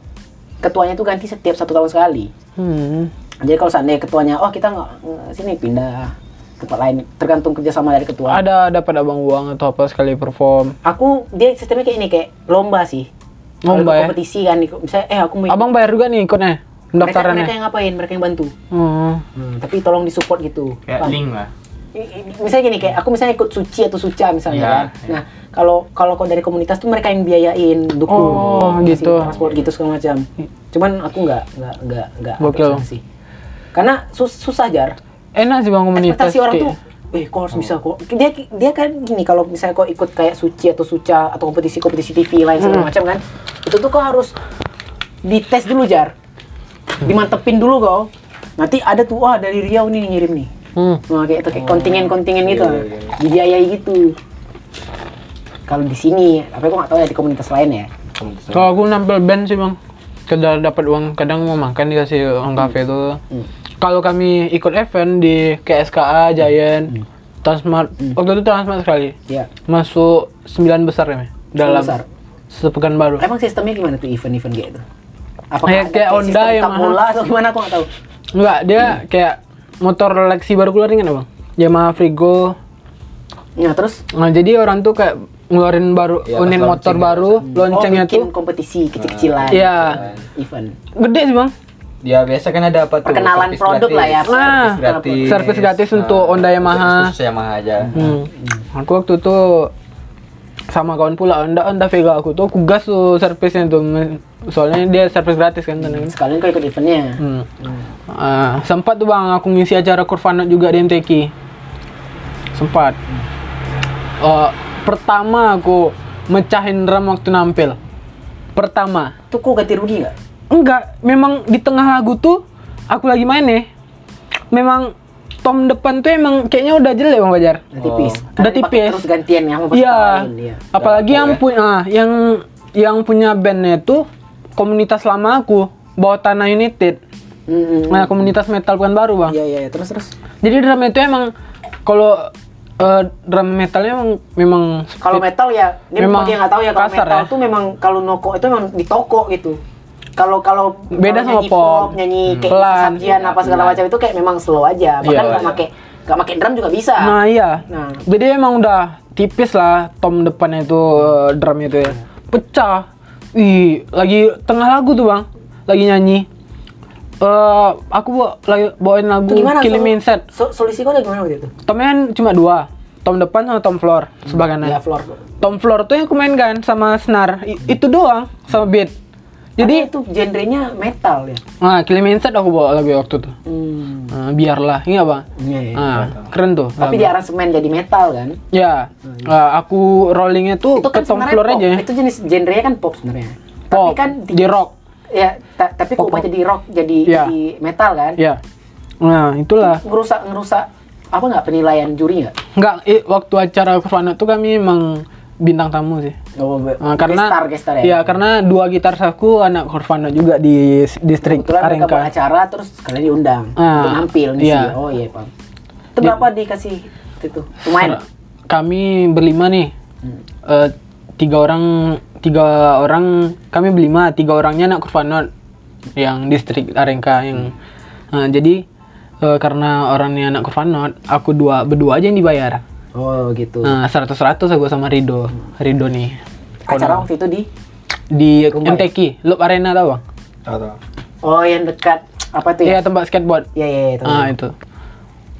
Ketuanya tuh ganti setiap satu tahun sekali. Hmm. Jadi kalau seandainya ketuanya, oh kita nggak nggak- sini pindah tempat lain, tergantung kerjasama dari ketua. Ada dapat abang uang atau apa sekali perform? Aku dia sistemnya kayak ini kayak lomba sih. Kalau ikut Lomba ya? kompetisi kan, ikut- misalnya eh aku mau ikut. Abang ya?" bayar juga nih ikutnya? mereka, Pendaftarannya? mereka yang ngapain, mereka yang bantu. Oh. Tapi tolong disupport gitu. Paham? lah. I- i- misalnya gini kayak aku misalnya ikut suci atau suca misalnya Iya, kan. Nah, kalau kalau kau dari komunitas tuh mereka yang biayain, dukung, Oh, kasih gitu. transport gitu segala macam. Cuman aku nggak nggak nggak nggak apa Gokil. sana sih. Karena sus- susah jar. Enak sih bang komunitas. Ekspektasi orang kayak- tuh Eh, kok harus bisa Oh. kok. Dia dia kan gini kalau misalnya kau ikut kayak suci atau suca atau kompetisi kompetisi TV lain Hmm. segala macam kan, itu tuh kau harus dites dulu jar, dimantepin dulu kau. Nanti ada tuh wah dari Riau nih ngirim nih, Hmm. Nah, kayak itu kayak kontingen-kontingen gitu. Iya, Dibiayai gitu. Kalau di sini, tapi aku nggak tahu ya di komunitas lain ya. Kalau aku nampil band sih bang, kadang dapat uang, kadang mau makan dikasih Hmm. uang kafe itu. Kalau kami ikut event di KSKA, Giant, Hmm. Transmart, waktu itu Transmart sekali, Iya. masuk 9 besar ya, Mei? dalam besar? Eh. sepekan baru. Emang sistemnya gimana tuh event-event kayak itu? Ya, ada kayak Honda, sistem Yamaha. sepak bola atau gimana aku nggak tahu. Enggak, dia Hmm. kayak motor Lexi baru keluar ingat bang, Yamaha Frigo. Nah, terus Nah jadi orang tuh kayak ngeluarin baru Iya, pas unin motor launching baru, oh, loncengnya bikin tuh kompetisi kecil-kecilan. gitu. Iya. Event. gede sih bang. Ya biasa kan ada apa tuh? Perkenalan Servis produk lah ya. gratis. Ah. Nah, Servis gratis. servis gratis untuk Nah, Honda Yamaha. Khusus Yamaha aja. Hmm. Aku waktu itu sama kawan pula Honda Honda Vega aku tuh aku gas tuh servisnya tuh Men- soalnya dia servis gratis kan tenang. Sekalian kau ikut eventnya. Hmm. Ah, sempat tuh bang aku ngisi acara Kurvanot juga di MTQ sempat Eh, pertama aku mecahin drum waktu nampil pertama Tuh kok ganti rugi nggak? enggak memang di tengah lagu tuh aku lagi main nih memang tom depan tuh emang kayaknya udah jelek bang Fajar Nah, tipis. Karena Udah dipakai tipis. Terus gantian ya sama peserta Iya. lain, Iya. Apalagi yang punya ah, yang yang punya bandnya itu komunitas lama aku, Bawah Tanah United. Hmm, hmm. Nah, komunitas metal bukan baru, Bang. Iya, iya, iya. terus terus. Jadi drum itu emang kalau eh, drum metalnya emang memang Kalau metal ya, dia Memang memang yang nggak tahu ya kalau kasar metal ya. tuh memang kalau noko itu memang di toko gitu. kalau kalau Beda kalau sama nyanyi pop. nyanyi kayak Hmm. Pelan. Sabjian apa segala macam itu kayak memang slow aja bahkan Iya. nggak pakai nggak pakai drum juga bisa Nah iya. Nah. Jadi emang udah tipis lah tom depannya itu eh, drum itu ya. Pecah. Ih, lagi tengah lagu tuh bang, lagi nyanyi. Eh, aku bawa, lagi bawain lagu Itu gimana Killing Me Inside. so, solusi kau tuh gimana waktu itu Tomnya kan cuma dua, tom depan sama tom floor sebelah kanan. ya floor Tom floor tuh yang aku mainkan sama senar, I- itu doang sama beat. jadi Jadi, itu genrenya metal ya nah Killing Me Inside aku bawa lagi waktu itu. hmm. Nah, biarlah, iya bang. Iya, iya, Nah, keren tuh. tapi lagu. di aransemen jadi metal kan Ya, eh, aku rollingnya tuh itu kan ke tom sebenarnya floor pop. aja ya. itu jenis genrenya kan pop sebenarnya tapi Pop, kan di, di rock. ya ta- tapi kok Pop, pop. jadi rock jadi, Iya. jadi metal kan Ya. Nah, itulah. ngerusak ngerusak apa nggak penilaian juri nggak Enggak, eh, waktu acara Nirvana tuh kami emang bintang tamu sih. Oh, be- Nah, karena gestar, gestar ya. Iya, karena dua gitar aku anak Nirvana juga di s- distrik Kebetulan mereka buat Arengka. acara terus sekalian diundang kan. Ah, untuk nampil di iya. sini. Oh iya paham. Itu berapa dikasih itu? Lumayan. Kami berlima nih. Eh, tiga orang tiga orang kami berlima, tiga orangnya anak Nirvana yang distrik Arengka yang Nah, jadi eh, karena orangnya anak Nirvana, aku dua berdua aja yang dibayar. Oh gitu. Nah, 100-100 aku sama Rido. Rido nih. Acara waktu itu di Di MTQ, Loop Arena tau bang? Atau Oh yang dekat apa tuh ya? Iya, tempat skateboard. Iya iya iya, tahu. Ah, itu.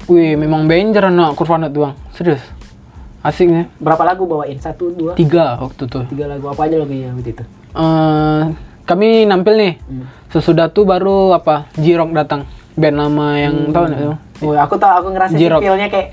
Wih, memang danger anak Kurvanot tuh bang. Serius. Asiknya. Berapa lagu bawain? Satu, dua, Tiga waktu tuh. tiga lagu apa aja lagunya waktu itu? Eh, kami nampil nih. Hmm. Sesudah tuh baru apa, Jirok datang. Band lama yang Hmm. tahu nggak tuh? Woi, Oh, aku tahu aku ngerasa sih Jirok. feel-nya kayak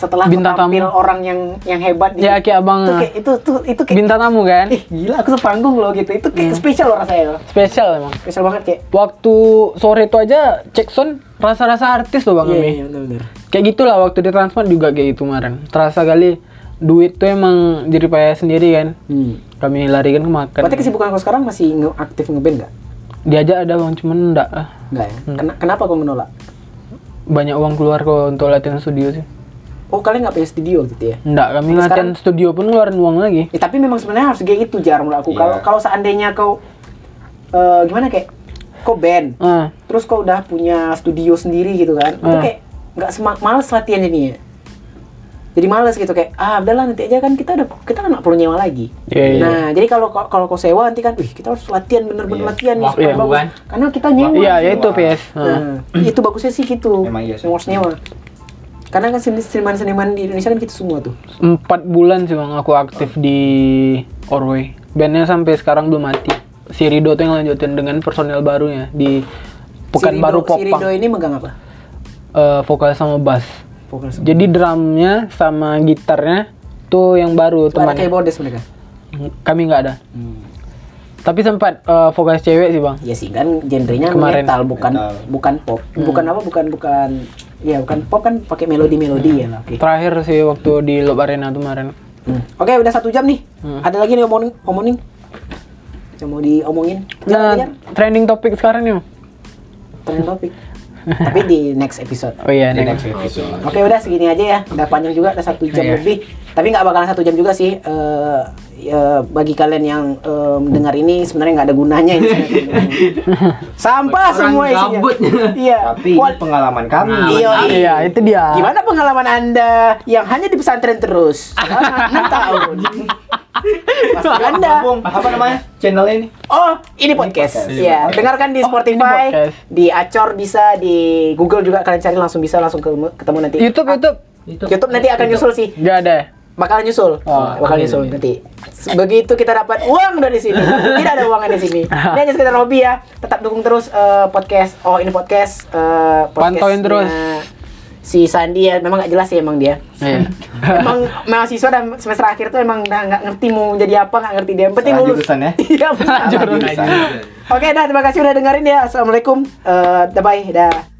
setelah Bintang aku tampil tamu. orang yang yang hebat di Ya, kayak abang. itu kayak itu tuh itu kayak Bintang tamu Iya. kan? ih gila aku sepanggung loh gitu. Itu kayak spesial loh rasanya loh. Spesial emang. Spesial banget kayak Waktu sore itu aja cek sound rasa-rasa artis loh bang. Iya kami. iya benar. kayak gitulah waktu di Transmart juga kayak gitu kemarin terasa kali duit tuh emang jadi payah sendiri kan Hmm. kami larikan ke makan Berarti kesibukan kau sekarang masih nge- aktif ngeband nggak? diajak ada bang cuman enggak ah. Enggak ya? Ken- kenapa kau menolak? banyak uang keluar kok untuk latihan studio sih Oh kalian nggak punya studio gitu ya? enggak kami Sampai latihan studio pun ngeluarin uang lagi Ya, tapi memang sebenarnya harus kayak gitu jar menurut aku. Iya. Kalau kalau seandainya kau eh, gimana kayak kau band, ah terus kau udah punya studio sendiri gitu kan? Nah. Itu kayak nggak semak males latihan jadinya. Jadi males gitu kayak ah udahlah nanti aja kan kita udah kita kan nggak perlu nyewa lagi. Iya, iya. Nah jadi kalau kalau kau sewa nanti kan, wih kita harus latihan Iya. bener-bener latihan nih Waktu supaya yang bagus. bukan. Karena kita nyewa. gitu iya ya itu PS Ah. Nah, itu bagusnya sih gitu. Emang iya sih. Yang harus nyewa. Karena kan seni- seniman-seniman di Indonesia kan gitu semua tuh. empat bulan sih bang aku aktif di Orway bandnya sampai sekarang belum mati si Rido tuh yang lanjutin dengan personel barunya di Si Pekanbaru Rido- si Popang Rido ini megang apa? Eh, vokal sama bass Vokal semua. Jadi drumnya sama gitarnya tuh yang baru Itu ada kayak teman. bodes mereka. Kami nggak ada. Hmm. Tapi sempat eh, vokalis cewek sih bang. Ya sih kan genrenya Kemarin. Hmm. metal bukan Metal. bukan pop. Bukan apa bukan bukan ya bukan pop kan pakai melodi-melodi Hmm. ya lah. Oke. Terakhir sih waktu di Lob Arena tuh kemarin. Hmm. Oke, udah satu jam nih. Hmm. Ada lagi nih omongin omongin. Yang mau diomongin. Nah, Jangan trending topik sekarang nih. Bang. tren topik. Tapi di next episode. Oh iya, di nih. next episode. Oke udah segini aja ya, udah panjang juga, udah satu jam Iya. lebih. Tapi nggak bakalan satu jam juga sih. Eh, ya, bagi kalian yang eh, mendengar ini sebenarnya nggak ada gunanya ini. Sampah semua isinya. gabut. Iya. Tapi ini Kual- pengalaman kami. Iya, iya. Iya, itu dia. Gimana pengalaman anda yang hanya di pesantren terus? Selama enam tahun. Pasti anda. Bung, apa namanya? Channelnya ini. Oh, ini podcast. Iya, dengarkan di Spotify, Oh, podcast. di Acor bisa, di Google juga kalian cari langsung bisa langsung ke- ketemu nanti. Ah, YouTube, YouTube. Oh, YouTube nanti akan nyusul sih. Gak ada. ya? bakal nyusul, bakal nyusul nanti. Begitu kita dapat uang dari sini, tidak ada uangnya di sini. Ini hanya sekitar hobi ya. Tetap dukung terus eh, podcast. Oh ini podcast. eh, podcastnya Pantauin terus. Si Sandi ya, memang nggak jelas sih emang dia. Iya. Emang mahasiswa dan semester akhir tuh emang nggak nggak ngerti mau jadi apa, nggak ngerti dia. Yang penting Salah lulus. jurusan ya. Iya benar. Jurusan. Oke, dah terima kasih udah dengerin ya. Assalamualaikum. Eh, bye bye. Dah.